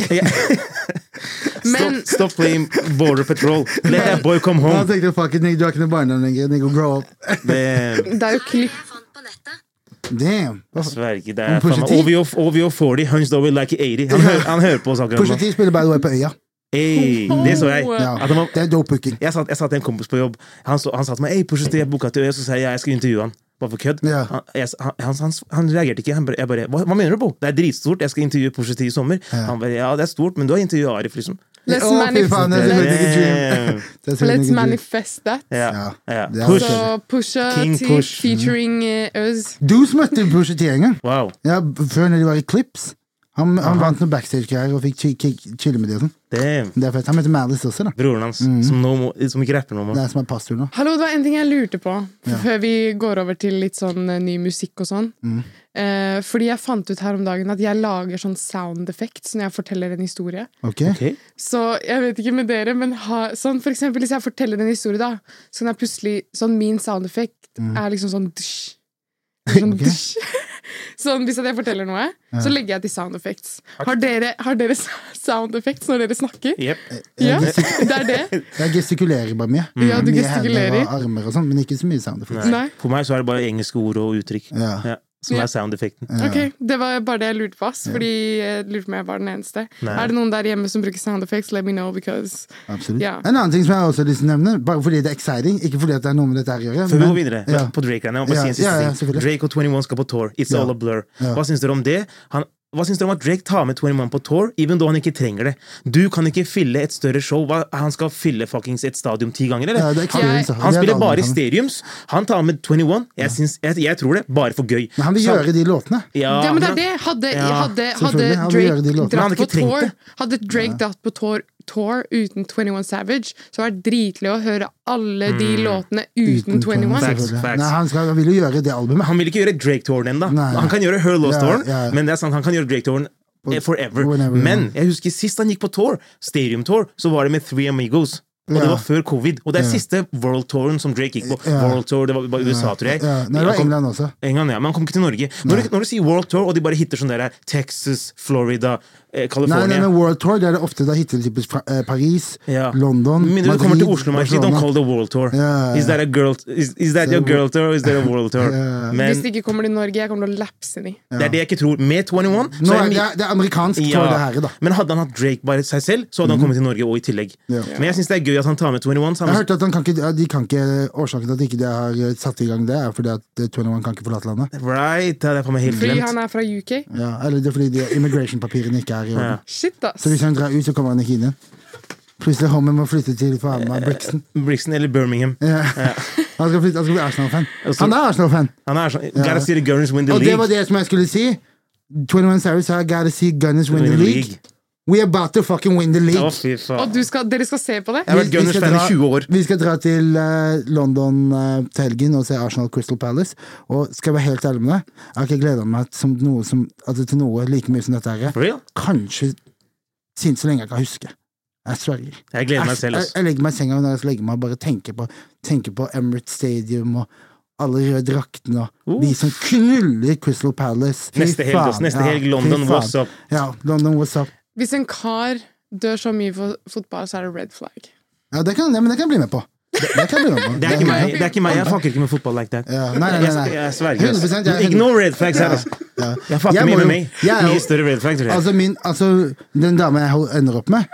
Men Stop, stop playing Border Patrol. Let that boy come Han home. tenkte fuck it, nigga, du har ikke noe barndom lenger. Nigga, grow up. Det, det er jo klipp jeg fant på nettet. Damn. Hva faen? sverger, det Men er Pusha faen meg T? OVO, OVO 40, Hunched Over Like 80. Han, hører- han hører på oss akkurat Pusha nå. T spiller by the way på Øya. Hey, det så jeg. Ja. At han var Det er dope booking. Jeg satt, jeg satt til en kompis på jobb. Han, så, han sa til meg Ei, Pusha T, jeg boka til øya, så sa jeg ja, jeg skal intervjue han. Bare for kødd. Ja. Han, jeg, han, han, han, han reagerte ikke. Han bare, jeg bare hva, hva mener du, Bo? Det er dritstort, jeg skal intervjue Pusha T i sommer. Han bare ja, det er stort, men du har intervjua Arif, liksom. Let's, Å, fy manif faen, det er så let's, nydelig. Nigga dream. Damn. Det er så let's nigga dream. manifest that. Ja. Ja. ja. Det er Push. også- Så Pusha King T Push. featuring eh, Øz. Deuce møtte Pusha T en gang. Wow. Ja, før når de var i Clips. Han, han vant noen backstage-greier og fikk chi- ki- chille med de og sånn. Damn. Det er fett. Han møtte Malice også, da. Broren hans, Mm. som, nå må, som ikke rapper noe Det mer. er som er pastor nå. Hallo, det var en ting jeg lurte på før vi går over til litt sånn eh, ny musikk og sånn. Eh, fordi jeg fant ut her om dagen at jeg lager sånn sound effects når jeg forteller en historie. Ok? Ok. Så jeg vet ikke med dere, men ha, sånn for eksempel hvis jeg forteller en historie, da, så kan jeg plutselig Sånn min sound effect er liksom sånn dusj. Sånn, Ok. dusj. sånn hvis at jeg forteller noe, så legger jeg til sound effects. Har dere, har dere sound effects når dere snakker? Jep. Ja, Jeg, gestik det er det. jeg gestikulerer bare mye. Mm. Ja, du Mye gestikulerer. hender og armer og sånn, men ikke så mye sound effects. Nei. For meg så er det bare engelske ord og uttrykk. Ja. Ja, som Ja. er soundeffekten. Ok, Det var bare det jeg lurte på. ass Fordi jeg lurte på om jeg var den eneste. Nei. Er det noen der hjemme som bruker sound effects? Let me know, because Absolutt. Ja. En annen ting som jeg også har lyst til å nevne, bare fordi det er exciting, ikke fordi at det er noe med dette her å gjøre Før vi men- går videre Ja. på Drake, her, jeg må bare Ja, si en ja, siste ja, ting. selvfølgelig. Drake og 21 skal på tour. It's Ja. all a blur. Ja. Hva syns dere om det? Han, Hva syns dere om at Drake tar med 21 på tour, even though han ikke trenger det? Du kan ikke fylle et større show. Hva, han skal fylle fuckings et stadion ti ganger, eller? Ja, det er experience, da. Han Det er spiller det andre bare i han- stadiums. Han tar med 21. Jeg, syns, jeg, jeg tror det. Bare for gøy. Men han vil Så- gjøre de låtene. ja, Ja, men det han- er det. Hadde, Ja, hadde, hadde selvfølgelig. Han vil gjøre de Drake låtene. Men han dratt hadde på ikke trengt tour det. Hadde Drake dratt på tour, tour uten 21 Savage, så var det dritløy å høre alle de Mm. låtene uten 21. Savage. selvfølgelig. Facts. Nei, han, skal, han vil jo gjøre det albumet. Han vil ikke gjøre Drake-touren ennå. Nei. Han kan gjøre Her Lost Ja, Touren, ja. men det er sant, han kan gjøre Drake-touren eh, forever. Whenever, men jeg husker sist han gikk på tour, Stadium Tour, så var det med Three Amigos. Og det Ja. var før covid. Og det er siste World Touren som Drake gikk på. Ja. World Tour, Det var bare USA, tror jeg. Ja, nei, det Han var kom- England også. England, ja, Men han kom ikke til Norge. Når du, når du sier World Tour, og de bare hitter sånn der Texas, Florida, eh, Nei, California nei, men World Tour det er det ofte da hittil typisk fra, eh, Paris, Ja. London, Med mindre du kommer til Madrid, Oslo, Marki, don't Barcelona. call the World Tour. Ja, ja, Is that a girl is, is that your girl tour, or is that a World Tour? Ja. Men Hvis de ikke kommer til Norge, jeg kommer til å lapse de. det er det jeg ikke tror. Med 21 så Nå er er mi- det, det er amerikansk Ja. tour, det her, da. Mhm. Men hadde han hatt Drake bare seg selv, så hadde han kommet til Norge og i tillegg. Ja. Men jeg syns det er gøy at han tar med 21. Jeg Sammen. hørte at han kan ikke, de kan ikke, Årsaken til at ikke de ikke har eh, satt i gang det, er fordi at eh, 21 kan ikke forlate landet. sånn, Right, det er for meg helt Fordi glemt. han er fra UK. Ja, eller det er fordi de immigration-papirene ikke er i orden. Ja. Shit, ass. Så hvis han drar ut, så kommer han ikke inn igjen. Plutselig homie må flytte til faen Eh, meg Brixton. Brixton eller Birmingham. Ja. Han skal, flytte, han skal bli Arsenal-fan. Altså- Han er Arsenal-fan! Han er sånn Gotta see the Gunners win the Og det var league. det som jeg skulle si. 21 Savage sa gotta see Gunners win the league. We about to fucking win the Å, league. fy Og faen. du skal, dere skal se på det? Jeg har vært Vi- vi skal Gunners-fan i dra- 20 år. Vi skal dra til eh, London eh, til helgen og se Arsenal Crystal Palace. Og skal jeg være helt ærlig med deg, jeg har ikke gleda meg til noe, som, altså, til noe like mye som dette her. For real? Kanskje siden så lenge jeg kan huske. Jeg sverger. Jeg gleder meg Jeg, selv, jeg, altså. jeg legger meg i senga når jeg skal legge meg og bare tenker på, tenker på Emirates Stadium og alle røde draktene og Uh. de som knuller Crystal Palace. Fy Neste helg, faen. også. Neste Ja, helg, fy London, faen. what's up? Ja, London, what's up? Hvis en kar dør så mye for fotball, så er det red flag. Ja, det kan, ja, men det kan jeg bli med på. Det, det kan jeg bli med på. Det er ikke meg. Det er ikke meg. Jeg fucker ikke med fotball like that. Ja, nei, nei, nei, Jeg, nei. jeg sverger. 100% jeg er altså. helt- Ignore red flags her, altså. Ja. Jeg fucker Jeg må mye med jo- meg. jeg er jo- Mye større red flags, tror jeg. Altså, min, altså, den dama jeg hol- ender opp med,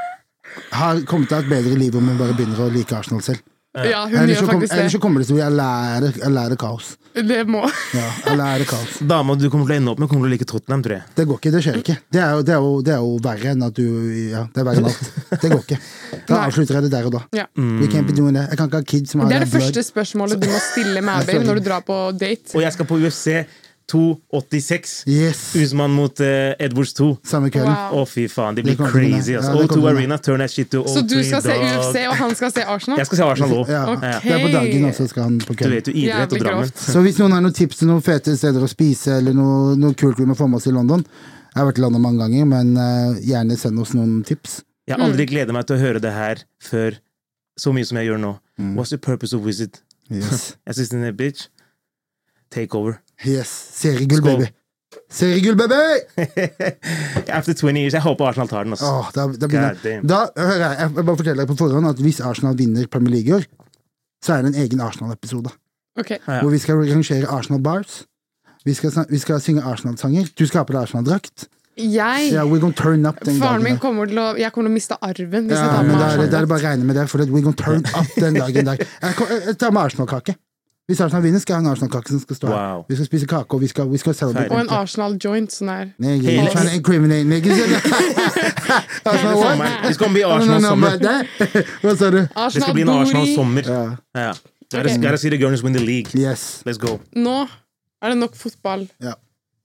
har kommet til å ha et bedre liv om hun bare begynner å like Arsenal selv. Ja, hun Ellers gjør så, kom, faktisk ellers så det. kommer det til å bli jeg lærer, jeg lærer kaos. Det må. Ja, jeg lærer kaos. Dama du kommer til å ende opp med, kommer til å like Tottenham, tror jeg. Det går ikke, det skjer ikke. Det er jo, det er jo, det er jo verre enn at du Ja, det er verre enn alt. Det går ikke. Da Nei. avslutter jeg det der og da. Ja. Mm. We can't be doing that. Jeg kan ikke ha kids som har Det er det blood. første spørsmålet du må stille Mabel når du drar på date. Og jeg skal på UFC 286. Yes! Usman mot eh, Edwards 2. Samme kvelden. Wow. Å, fy faen. Det Det blir kommer til å crazy. bli- ass. ja, det kommer O2 til å bli- Arena, turn that shit to O3 Så du skal se dog. UFC, og han skal se Arsenal? oh, Jeg skal se Arsenal òg. Ja. Ok. Det er på dagen også, skal han på Du kvelden. vet jo idrett Jævlig og Drammen. grovt. Så hvis noen har noen tips til noen fete steder å spise, eller noe, noe kult vi må få med oss i London Jeg har vært i London mange ganger, men eh, gjerne send oss noen tips. Jeg har Mm. aldri gledet meg til å høre det her før så mye som jeg gjør nå. Mm. What's the purpose of visit? Yes. Jeg synes den er bitch. Take over. yes. Seriegull, Skål. baby! Seriegull, baby! After 20 years. Jeg håper Arsenal tar den. ass. Åh, da, da, begynner, God damn. da hører jeg, jeg bare forteller deg på forhånd at hvis Arsenal vinner Premier League i år, så er det en egen Arsenal-episode. Ok. Ja. Hvor vi skal rangere Arsenal bars. Vi skal, snak- vi skal synge Arsenal-sanger. Du skal ha på deg Arsenal-drakt. Jeg Yeah, we're gonna turn up den Faren dagen. min der. kommer til å Jeg kommer til å miste arven hvis Ja, jeg tar men med da er det, da er Arsenal. det bare å regne med det, for we're gonna turn up den dagen der. Jeg, kom- jeg tar med Arsenal-kake. Hvis Arsenal vinner, skal jeg ha en Arsenal-kake som skal stå her. Wow. Vi skal spise kake, og vi skal, vi skal celebrate. Og en Arsenal joint. Sånn her. Nigga, Hele- you're trying to incriminate niggas. Arsenal what? Sommeren. Det skal I don't bli know Arsenal-sommer. about that. Hva sa du? Det skal bli Arsenal-booty. en Arsenal-sommer. Ja. Ja. Gotta, gotta see the Gunners win the league. Yes. Let's go. Nå er det nok fotball. Ja.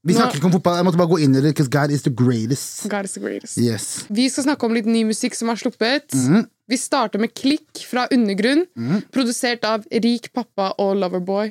Vi snakker ikke om fotball. Jeg måtte bare gå inn i det, because God is the greatest. God is the greatest. Yes. Vi skal snakke om litt ny musikk som er sluppet. Mhm. Vi starter med Klikk fra Undergrunn, produsert av Rik pappa og Loverboy.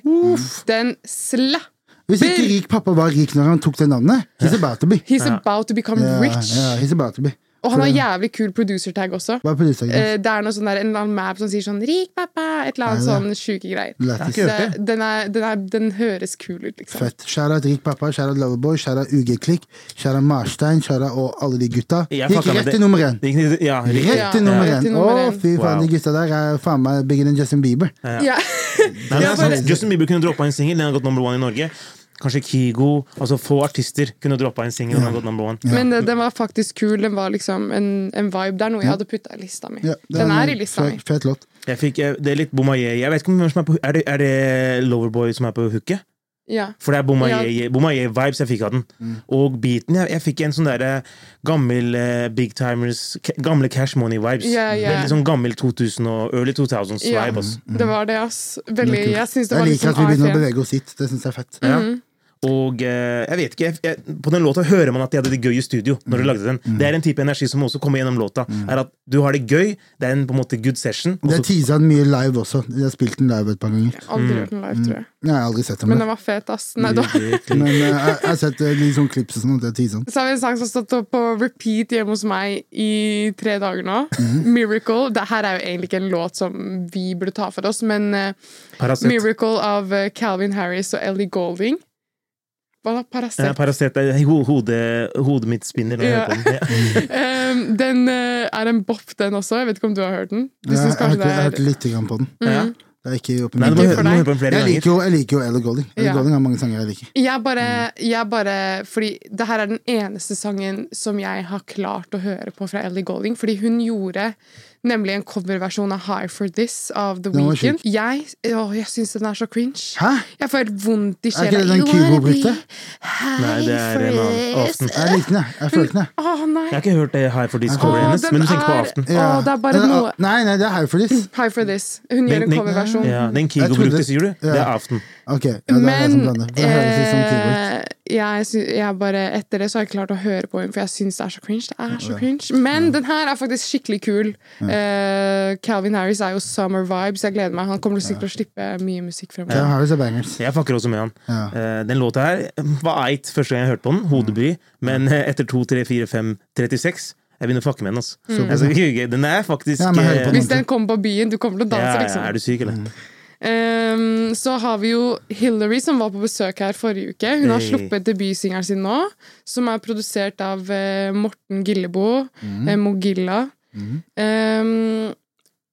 Den slapp! Hvis ikke rik pappa var rik når han tok det navnet, he's about to be. He's about to become Ja, rich. ja, he's about to be. Og han har jævlig kul producer-tag også. Hva er produseren? Eh, Det er noe sånn der, en eller annen map som sier sånn 'rik pappa', et eller annet Ja, sånn sjuke greier. Lættis. ikke hørt Det, den, er, den, er, den høres kul ut, liksom. Fett. Shout-out rik pappa, shout-out Loverboy, shout-out UG-klikk, shout-out Marstein, shout-out og alle de gutta. Jeg Gikk fucka med rett det. til nummer én. Gikk- Ja, riktig. Rett til Ja. nummer Rett én. til Å, nummer én. fy faen, Wow. de gutta der er faen meg bigger enn Justin Bieber. Ja. Nei, men det er bare- sant. Justin Bieber kunne droppa en singel, den hadde gått number one i Norge. Kanskje Kygo Altså få artister kunne droppa en singel, den hadde gått number one. Men eh, den var faktisk kul. Den var liksom en, en vibe. Det er noe jeg hadde putta i lista mi. Ja, det Den en er i lista mi. fet- Fet låt. Jeg fikk, eh, det er litt bomma jeg. Jeg vet ikke om hvem som er på Er det, er det Loverboy som er på hooket? Ja. For det er Boma Ja. Mm. Ye- Boma Ye-vibes jeg fikk av den. Og beaten. Jeg, jeg fikk en sånn derre gammel eh, Big Timers ca- Gamle Cash Money-vibes. Ja, ja. Litt sånn gammel 2000 og early 2000s-vibe. Ja. ass. Mm, Det var det, ass. Veldig, kult. jeg syns det Jeg var litt liker sånn at vi begynner å AFM. bevege oss hit. Det syns jeg er fett. Ja. Og eh, jeg vet ikke, jeg, jeg, På den låta hører man at de hadde det gøy i studio. når de lagde den. Det er en type energi som også kommer gjennom låta. er at Du har det gøy, det er en på en måte good session. og Det er så- teasa mye live også. Jeg har spilt den live et par ganger. Aldri hørt den live, tror jeg. Jeg har aldri sett den. Men Men, den var fet, ass. Nei, da. men eh, jeg, jeg har sett eh, litt sånn klips og sånn. at Det er teasa. Så har vi en sang som har stått opp på repeat hjemme hos meg i tre dager nå. Mm. Miracle. Det her er jo egentlig ikke en låt som vi burde ta for oss, men eh, Paracet. Miracle av eh, Calvin Harris og Ellie Golding. Hva da? Eh, Paracet? Paracet er ho hode, hodet mitt spinner. når jeg Ja. hører på den. Ja. Ehm, den eh, er en bopp, den også. Jeg vet ikke om du har hørt den? Du Jeg syns jeg kanskje hørte- jeg hørte det er Mm. litt grann på den. Ja. Det er ikke oppe i Nei, du må, Ikke min- hø- for du må deg. høre på den Jeg flere ganger. liker jo, jeg liker jo Ella Golding. Ella Ja. Golding har mange sanger jeg liker. jeg bare, jeg bare Fordi det her er den eneste sangen som jeg har klart å høre på fra Ellie Golding. Fordi hun gjorde nemlig en coverversjon av High for This av The Den var Weeknd. Jeg, åh, jeg syns den er så cringe. Hæ? Jeg får helt vondt i Er ikke sjela. det den You wanna Kygo-brukte? be high Nei, det er for en annen. this. Aften. Jeg likte den, jeg. Jeg følte den, jeg. Å nei. Jeg har ikke hørt det her for Discord Å, hennes, den men du tenker på er- Aften. Å, det er bare Den noe- Nei, nei, det er High for this. High for This. Hun gjør Den- en den- coverversjon. Ja, den Kygo Jeg trodde- brukte, sier du? Ja. Det er Aften. Ok, ja, det er jeg som Men blander. Det høres ut som keyboard. eh, jeg, sy- jeg bare, etter det så har jeg ikke klart å høre på henne, for jeg syns det er så cringe. Det er så cringe. Men den her er faktisk skikkelig kul. Eh, Calvin Harris er jo summer vibes. Jeg gleder meg. Han kommer sikkert til å slippe mye musikk Ja, fremover. Harris er bangers. Jeg fucker også med han. Ja. Eh, den låta her var eit første gang jeg hørte på den, hodebry, Mm. men eh, etter 2, 3, 4, 5, 36 jeg begynner å fucke med den. Altså. Jeg skal ikke ljuge. Den er faktisk Mm. Ja, men hør på eh, den. Mm. Hvis den kommer på byen, du kommer til å ja, danse, ja, liksom. Er du syk, eller? Ehm, så har vi jo Hillary, som var på besøk her forrige uke. Hun har Hey. sluppet debutsingeren sin nå, som er produsert av eh, Morten Gillebo, eh, Mogilla. Ehm,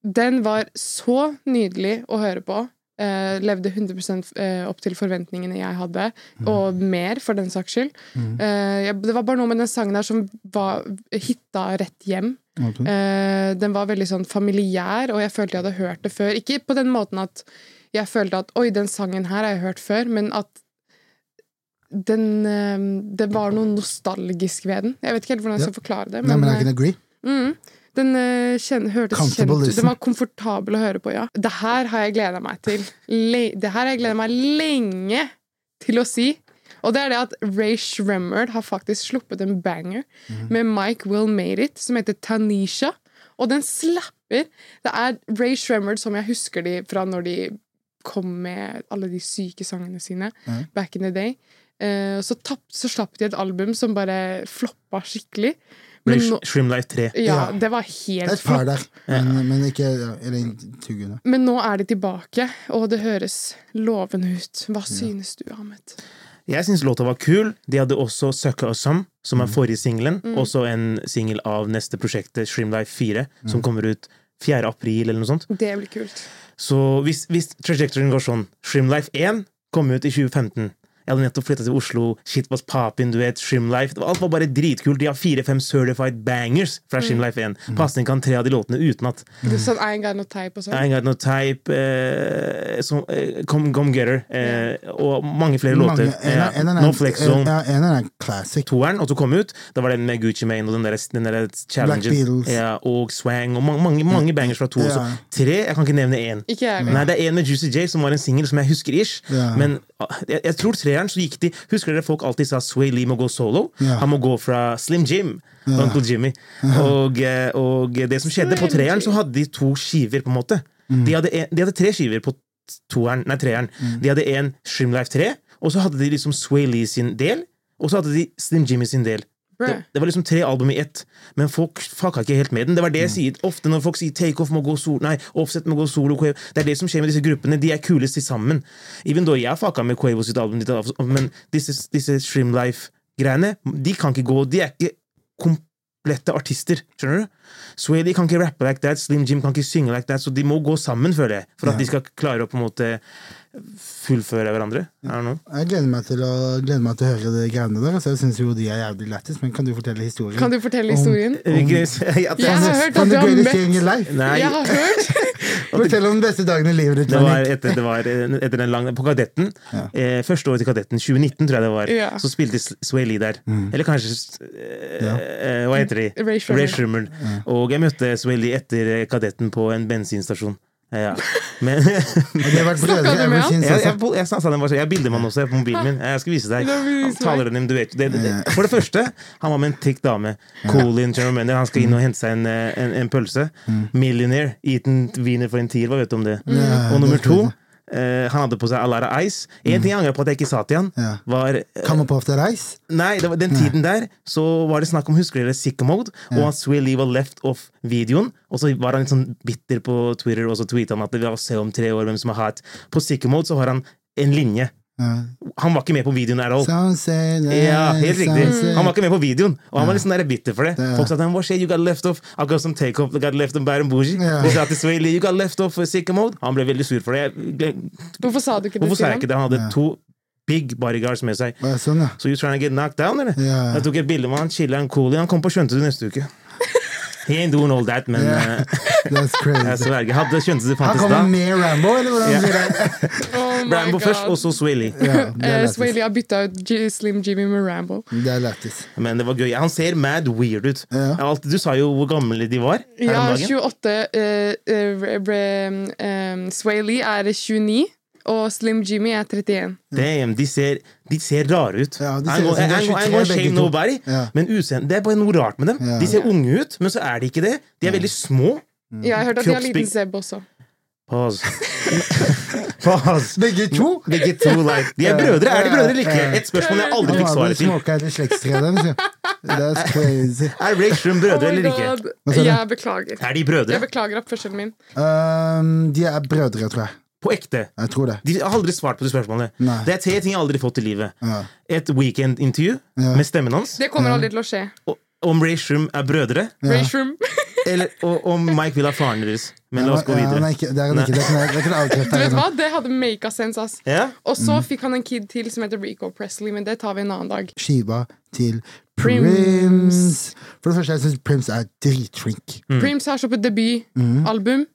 den var så nydelig å høre på. Eh, levde 100 eh, opp til forventningene jeg hadde, og mer, for den saks skyld. Eh, jeg, det var bare noe med den sangen der som var, hitta rett hjem. Ok. Eh, den var veldig sånn familiær, og jeg følte jeg hadde hørt det før. Ikke på den måten at jeg følte at 'oi, den sangen her har jeg hørt før', men at den eh, Det var noe nostalgisk ved den. Jeg vet ikke helt hvordan jeg Ja. skal forklare det. Nei, Men, men I can agree. eh, mm, den eh, kjen, hørtes kjent Comfortable ut. listen. Den var komfortabel å høre på, ja. Det her har jeg gleda meg til. Le det her har jeg gleda meg lenge til å si. Og det er det at Ray Shremmerd har faktisk sluppet en banger med Mike Will Made It, som heter Tanisha. Og den slapper. Det er Ray Shremmerd som jeg husker de fra når de kom med alle de syke sangene sine Mhm. back in the day. Eh, så, tapp, så slapp de et album som bare floppa skikkelig. Men Blir nå, Shrimlife 3. ja, Ja. det var Det er helt et par flott. der, men, men ikke ja, Eller tugene. Men nå er de tilbake, og det høres lovende ut. Hva synes du, Ahmed? Jeg syns låta var kul. De hadde også Sucka Awesome, som Mm. er forrige singelen. Mm. Også en singel av neste prosjektet, Shrimlife 4, Mm. som kommer ut 4. april eller noe sånt. Det blir kult. Så hvis, hvis trajectoryen går sånn Shrimlife 1 kom ut i 2015. Jeg hadde nettopp flytta til Oslo. Shit was poppin', du vet. Shrimlife. Det var- Alt var bare dritkult. De har fire-fem certified bangers Mm. fra Shrimlife 1. Pasning kan tre av de låtene utenat. Det er sånn en gang noe teip og sånn. I Got No Type, eh, som, eh, Come, Come Getter, eh, og mange flere Mange, låter. en, Ja. er- en, er- no Flex Zone. Ja, en er en classic. Toeren, og så kom ut. Da var den med Gucci Mane og den der, den der challengen. Beatles. Ja, og Swang, og mange, mange, mange bangers fra to. Ja. Så tre, jeg kan ikke nevne én. Ikke jeg Nei, heller. det er en med Juicy J som var en singel som jeg husker ish. Ja. Men ah, jeg, jeg tror treeren så gikk de Husker dere folk alltid sa Sway Lee må gå solo? Ja. Han må gå fra Slim Jim. Uncle Jimmy. Og, eh, og det som skjedde på Slim treeren, Jim. så hadde de to skiver, på en måte. Mm. De, hadde en, de hadde tre skiver på toeren, nei, treeren. De hadde en Shrimlife 3, og så hadde de liksom Sway Lee sin del, og så hadde de Slim Jimmy sin del. Bruh. Det, det var liksom tre album i ett, men folk fucka ikke helt med den. Det var det jeg sier ofte når folk sier takeoff må gå solo, nei, offset må gå solo, Quavo. Det er det som skjer med disse gruppene. De er kulest til sammen. Even though jeg fucka med Quavo sitt album, ditt album, men disse, disse Streamlife-greiene, de kan ikke gå. De er ikke komplette artister, skjønner du? Swaley kan ikke rappe like that, Slim Jim kan ikke synge like that, så de må gå sammen, føler jeg, for at Ja. de skal klare å på en måte fullføre hverandre. I don't know. Jeg gleder meg til å, gleder meg til å høre de greiene der. Altså, jeg syns jo de er jævlig lættis, men kan du fortelle historien? Kan du fortelle historien? Ikke- at- Jeg har hørt From at the du har greatest møtt day in your life. Nei, Jeg har hørt Fortell om den beste dagen i livet ditt. Det Benny. var etter, det var eh, etter den lange, på Kadetten. Eh, første året i Kadetten, 2019, tror jeg det var. Ja. Så spilte S- Sway Lee der. Eller kanskje eh, Mm. Ja. eh, Hva heter de? Ray Shrummer. Shrummer. Og jeg møtte Sway Lee etter eh, Kadetten på en bensinstasjon. Eh, Ja. Men Og det har vært Snakket brødre du med ever han? since. jeg, jeg, altså. jeg, sa- sa den bare sånn, jeg har bildemann også jeg, på mobilen min. Jeg skal vise deg. Det vil vise meg. Taler den, du vet, det, det, det. For det første, han var med en tikk dame. Colin Charmander. Han skal inn og hente seg en, eh, en, en pølse. Millionaire. Eaten wiener for en tier. Hva vet du om det? Ja, og nummer det tror to jeg. eh, han hadde på seg Alara Ice. En ting jeg angrer på at jeg ikke sa til han, Ja. var eh, Come up after ice. Nei, det var den tiden der så var det snakk om Husker dere Sicko Mode? Og at Sway Lee var left off videoen. Og så var han litt sånn bitter på Twitter, og så tweeta han at vi har se om tre år hvem som har hatt På Sicko Mode så har han en linje. Ja. Han var ikke med på videoen at all. Sunset, Oh. Ja, helt riktig. sunset. Han var ikke med på videoen, og han var litt sånn der bitter for det. Det- Folk sa til ham hva skjer, you got left off. Akkurat som Takeoff got left on Baron Bougie. Ja. Og sa til Sway Lee, you got left off for Sicko Mode. Han ble veldig sur for det. Jeg gle- Hvorfor sa du ikke det Hvorfor sa jeg til ikke det? Han hadde to big bodyguards med seg. Var det Sånn, ja. So you trying to get knocked down, eller? Ja. Jeg tok et bilde med han, chilla en cool Han kom på Skjønte du neste uke. He ain't doing all that, men Ja. eh, That's jeg crazy. sverger. Hadde Skjønte du Han fantes da? kommer med Rambo, eller hvordan Ja. sier det? ham? Oh my Rambo God. først, og så Swilly. Ja, det er Eh, lættis. Sway Lee har bytta ut G Slim Jimmy med Rambo. Det er lættis. Men det var gøy. Han ser mad weird ut. Ja. Alt, du sa jo hvor gamle de var. her Ja, om dagen. 28 eh, eh, re- em, Sway Lee er 29, og Slim Jimmy er 31. Damn, de ser, de ser rare ut. Ja, de ser ut I'm som gonna- de er I'm gonna- 23 I'm gonna begge shame to. nobody, Ja. men utseende, det er bare noe rart med dem. Ja. De ser unge ut, men så er de ikke det. De er veldig små. Ja, jeg har hørt at de har Mm. Kroppsbygg- liten sebb også. Pause. Pause. Begge to? Begge to, like. De er brødre. Er de brødre eller ikke? Et spørsmål jeg aldri Han var fikk vel svaret til. smoka etter slektstreet deres, ja. That's crazy. Er Ray Shroom Oh brødre my eller ikke? God. Hva sa du? Jeg beklager. Er de Jeg brødre? beklager oppførselen min. Um, de er brødre, tror jeg. På ekte? Jeg tror det. De har aldri svart på de spørsmålene. Nei. Det er tre ting jeg aldri har fått i livet. Ja. Et weekendintervju Ja. med stemmen hans. Det kommer aldri til å skje. og- Om Ray Shroom er brødre, Rashroom. eller og om Mike vil ha faren deres. Men la oss gå Ja, han er videre. ikke, det er han ikke. Det kan jeg- det kan jeg Du avkrefte. vet hva? Det hadde maka sense, ass. Ja? Og så fikk han en kid til som heter Rico Presley, men det tar vi en annen dag. sånn Skiva til Prims. Prims. For det første, jeg syns Prims er dritflink. Prims har sluppet debutalbum.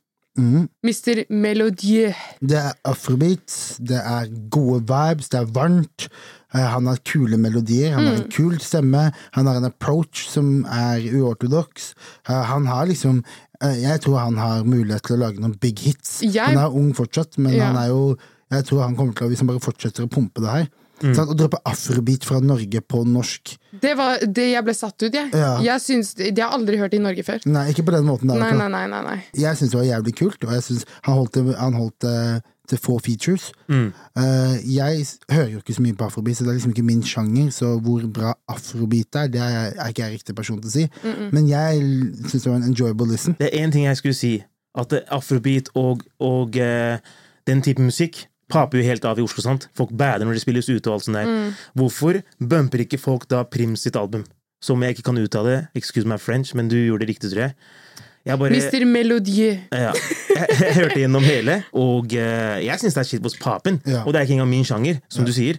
Mr. Melodieux. Det er afrobeat, det er gode vibes, det er varmt. eh, Han har kule melodier, han har Mm. en kul stemme, han har en approach som er uortodoks. Eh, Han har liksom eh, Jeg tror han har mulighet til å lage noen big hits. Jeg- Han er ung fortsatt, men Ja. han er jo Jeg tror han kommer til å Hvis han bare fortsetter å pumpe det her sant, Å droppe afrobeat fra Norge på norsk Det var det jeg ble satt ut, jeg. Ja. Jeg syns, Det har jeg aldri hørt i Norge før. Nei, ikke på den måten der. i Nei, hvert fall. nei, nei, nei, nei. jeg syns det var jævlig kult, og jeg synes han holdt, det- han holdt det til få features. Mm. Eh, jeg s- hører jo ikke så mye på afrobeat, så det er liksom ikke min sjanger, så hvor bra afrobeat er, det er, jeg- er ikke jeg riktig person til å si. Men jeg syns det var en enjoyable listen. Det er én ting jeg skulle si. At det- afrobeat og, og eh, den type musikk paper jo helt av i Oslo. sant? Folk bader når de spilles ute. og alt sånt der. Hvorfor bumper ikke folk da Prim sitt album? Som jeg ikke kan uttale. Excuse my French, men du gjorde det riktig, tror jeg. Jeg bare... Mr. Melodieux. Ja. Jeg, jeg hørte gjennom hele, og eh, jeg syns det er shit hos papen. Ja. Og det er ikke engang min sjanger, som du sier.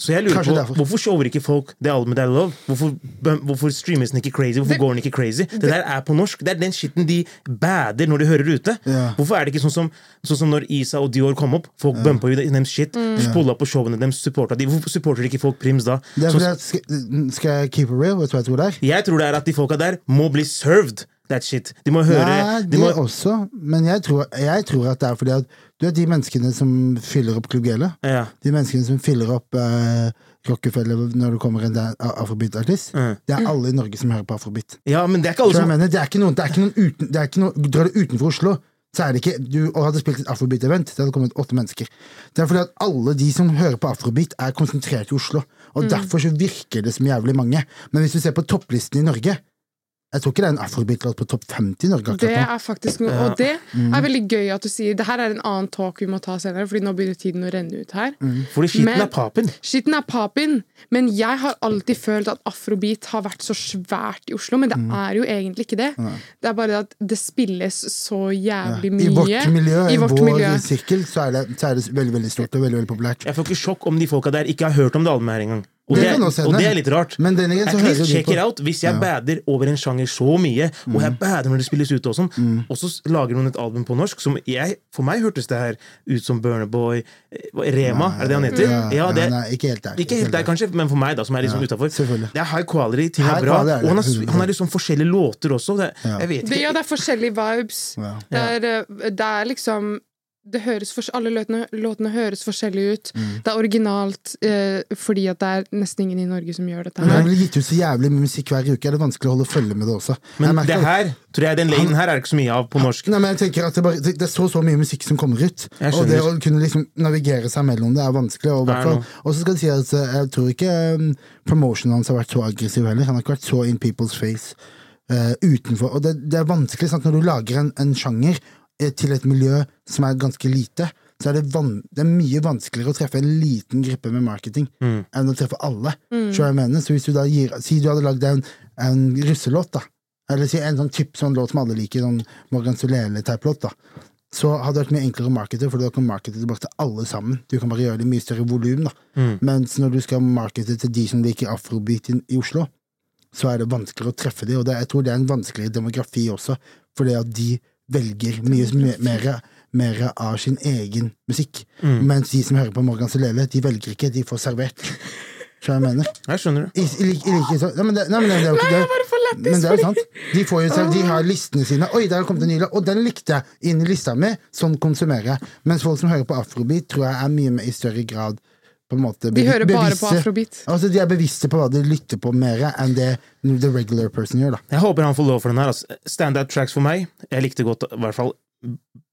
Så jeg lurer Kanskje på, derfor. Hvorfor shower ikke folk det albumet der love? Hvorfor, bøm- hvorfor streames den ikke crazy? Hvorfor Det- går den ikke crazy? Det, der er på norsk. Det er den shitten de bader når de hører ute. Ja. Hvorfor er det ikke sånn som, sånn som når Isa og Dior kom opp? Folk bumpa jo dem shit. Mm. Spola på showene deres, supporta de. Hvorfor supporter ikke folk Prims da? Det er Sånn- fordi at, skal, skal jeg keep it real? Vet du hva jeg tror det er? jeg tror det er at de folka der må bli served. That shit. De må høre Nei, de det må, også, men jeg tror, jeg tror at det er fordi at du vet de menneskene som fyller opp Klubb Gele, ja. de menneskene som fyller opp eh, Rockefeller når det kommer en da- afrobeat-artist, Mm. det er alle i Norge som hører på afrobeat. ja, men det er ikke Skjønner alle du hva jeg som mener? Det er ikke noen, det er ikke noen uten, det er ikke noen, Drar du utenfor Oslo, så er det ikke Du og hadde spilt et afrobeat-event, det hadde kommet åtte mennesker. Det er fordi at alle de som hører på afrobeat, er konsentrert i Oslo. Mm. Og derfor så virker det som jævlig mange. Men hvis du ser på topplisten i Norge Jeg tror ikke det er en afrobeat-låt på topp 50 i Norge Det akkurat nå. er faktisk noe, og det er veldig gøy at du sier det her er en annen talk vi må ta senere, Fordi nå begynner tiden å renne ut her. Fordi skitten Men- er papen. Skitten er papin, men jeg har alltid følt at afrobeat har vært så svært i Oslo, men det Mm. er jo egentlig ikke det. Det er bare at det spilles så jævlig mye. I vårt miljø, i, I vårt vår miljø. sirkel, så er, det, så er det veldig veldig stort og veldig veldig populært. Jeg får ikke sjokk om de folka der ikke har hørt om det albumet her engang. Og Det det, kan er, også hende. og det er litt rart. Men denne gangen At så hører least vi check på- it out. Hvis jeg Ja. Mm. bader over en sjanger så mye, og jeg bader når det spilles ute og sånn, og så s- lager noen et album på norsk som jeg, For meg hørtes det her ut som Burnerboy Rema, er det det han heter? Ja, Ja, det, nei, nei, ikke helt der. ikke helt der, kanskje, men for meg, da, som er liksom Ja, utenfor selvfølgelig. Det er high quality, ting High er bra. quality er det, Og han har, 100%. han har liksom forskjellige låter også. Det, Ja. jeg vet Det, ikke. ja, det er forskjellige vibes. Ja. Det er, eh, det er liksom det høres fors- Alle låtene, låtene høres forskjellige ut. Mm. Det er originalt eh, fordi at det er nesten ingen i Norge som gjør dette. Men det her. blir gitt ut så jævlig mye musikk hver uke, er det vanskelig å holde følge med det også. Jeg Men merker det at- her, tror jeg, den lanen her er det ikke så mye av på norsk. Nei, men jeg tenker at det, bare, det det er så så mye musikk som kommer ut, Jeg og det er- å skjønner. kunne liksom navigere seg mellom det er vanskelig. Og i hvert Det er fall- og så skal det si at eh, jeg tror ikke um, promotionen hans har vært så aggressiv heller. Han har ikke vært så in people's face eh, utenfor. Og det, det er vanskelig sant, når du lager en, en sjanger eh, til et miljø som er ganske lite. Så er det, van det er mye vanskeligere å treffe en liten gruppe med marketing Mm. enn å treffe alle. skjønner du hva Jeg mener. Så hvis du da gir, Si du hadde lagd en, en russelåt, da. Eller si en sånn typ sånn låt som alle liker, sånn Morgan Solele-type låt, da. Så hadde det vært mye enklere å markete, for da kan du markete tilbake til alle sammen. Du kan bare gjøre det i mye større volum, da. Mens når du skal markete til de som liker afrobeat i, i Oslo, så er det vanskeligere å treffe de, og det, jeg tror det er en vanskeligere demografi også, fordi at de velger mye me- mer, mer av sin egen musikk. Mens de som hører på Morgan Solele, de velger ikke, de får servert. Skjønner du hva jeg mener? Jeg skjønner det. I, i, like- i, like- så- nei, men det, nei, men det, det er jo ikke det. Men det er jo sant. De, får jo, selv- de har listene sine. Oi, der har kommet en ny låt, og den likte jeg inn i lista mi. Sånn konsumerer jeg. Mens folk som hører på afrobeat, tror jeg er mye mer i større grad på en måte, De hører bare på bevisste- afrobeat. Altså, de er bevisste på hva de lytter på mer enn det the regular person gjør, da. Jeg håper han får lov for den her. Altså. Standout tracks for meg. Jeg likte godt i hvert fall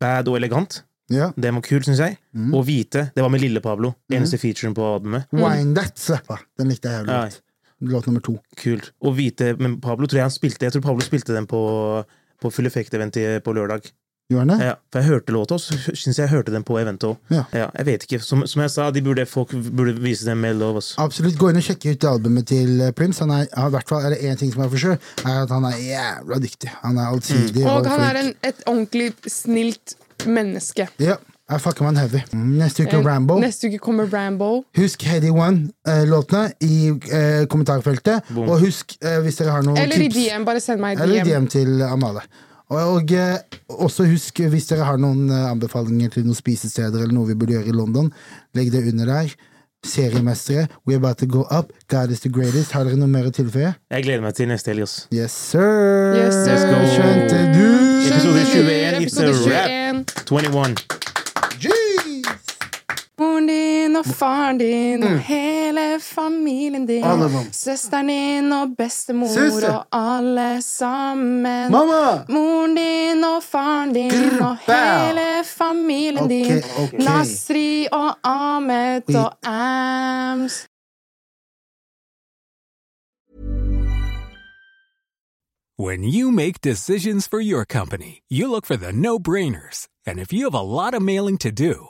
Bad og Elegant. Ja. Den var kul, syns jeg. Og Hvite. Det var med Lille Pablo. Eneste featuren på albumet. Wine Mm. That slapp jeg. Den likte jeg jævlig godt. Låt nummer to. Kult. Og Hvite Men Pablo tror jeg han spilte Jeg tror Pablo spilte den på, på Full Effect-eventet på lørdag. Gjorde den det? Ja, for jeg hørte låta, og så syns jeg jeg hørte den på eventet òg. Ah. Ja. Ja, jeg vet ikke. Som, som jeg sa, de burde, folk burde vise dem mer love. Altså. Absolutt. Gå inn og sjekke ut albumet til eh, Prince. Han er, ja, i hvert fall, er det én ting som er for sure, er at han er jævla dyktig. Han er allsidig. Og han flink. er en, et ordentlig snilt menneske. Ja, jeg fucker med en heavy. Mm, Neste uke Rambo. Eh, Neste uke kommer Rambo. Husk Heady One-låtene i eh, kommentarfeltet. Og husk, eh, hvis dere har noen Eller i tips DM. Bare send meg Eller i DM. DM til Amale. Og, og eh, også husk, hvis dere har noen eh, anbefalinger til noen spisesteder eller noe vi burde gjøre i London, legg det under der. Seriemestere, we're about to go up. God is the greatest. Har dere noe mer å tilføye? Jeg gleder meg til neste helg, altså. ass. Yes, sir! Yes, sir. Let's go. Skjønte du? Episode 21, it's Episode a wrap. 21. 21. Jeez! Moren din og faren din og hele familien din. Mm. Alle sammen. Søsteren din og bestemor Søster. og alle sammen. Mamma! Moren din og faren din Grr, og bæ. hele familien Ok, din. ok. Nasri og Ahmed Vi- og Ams. When you make decisions for your company, you look for the no brainers. And if you have a lot of mailing to do,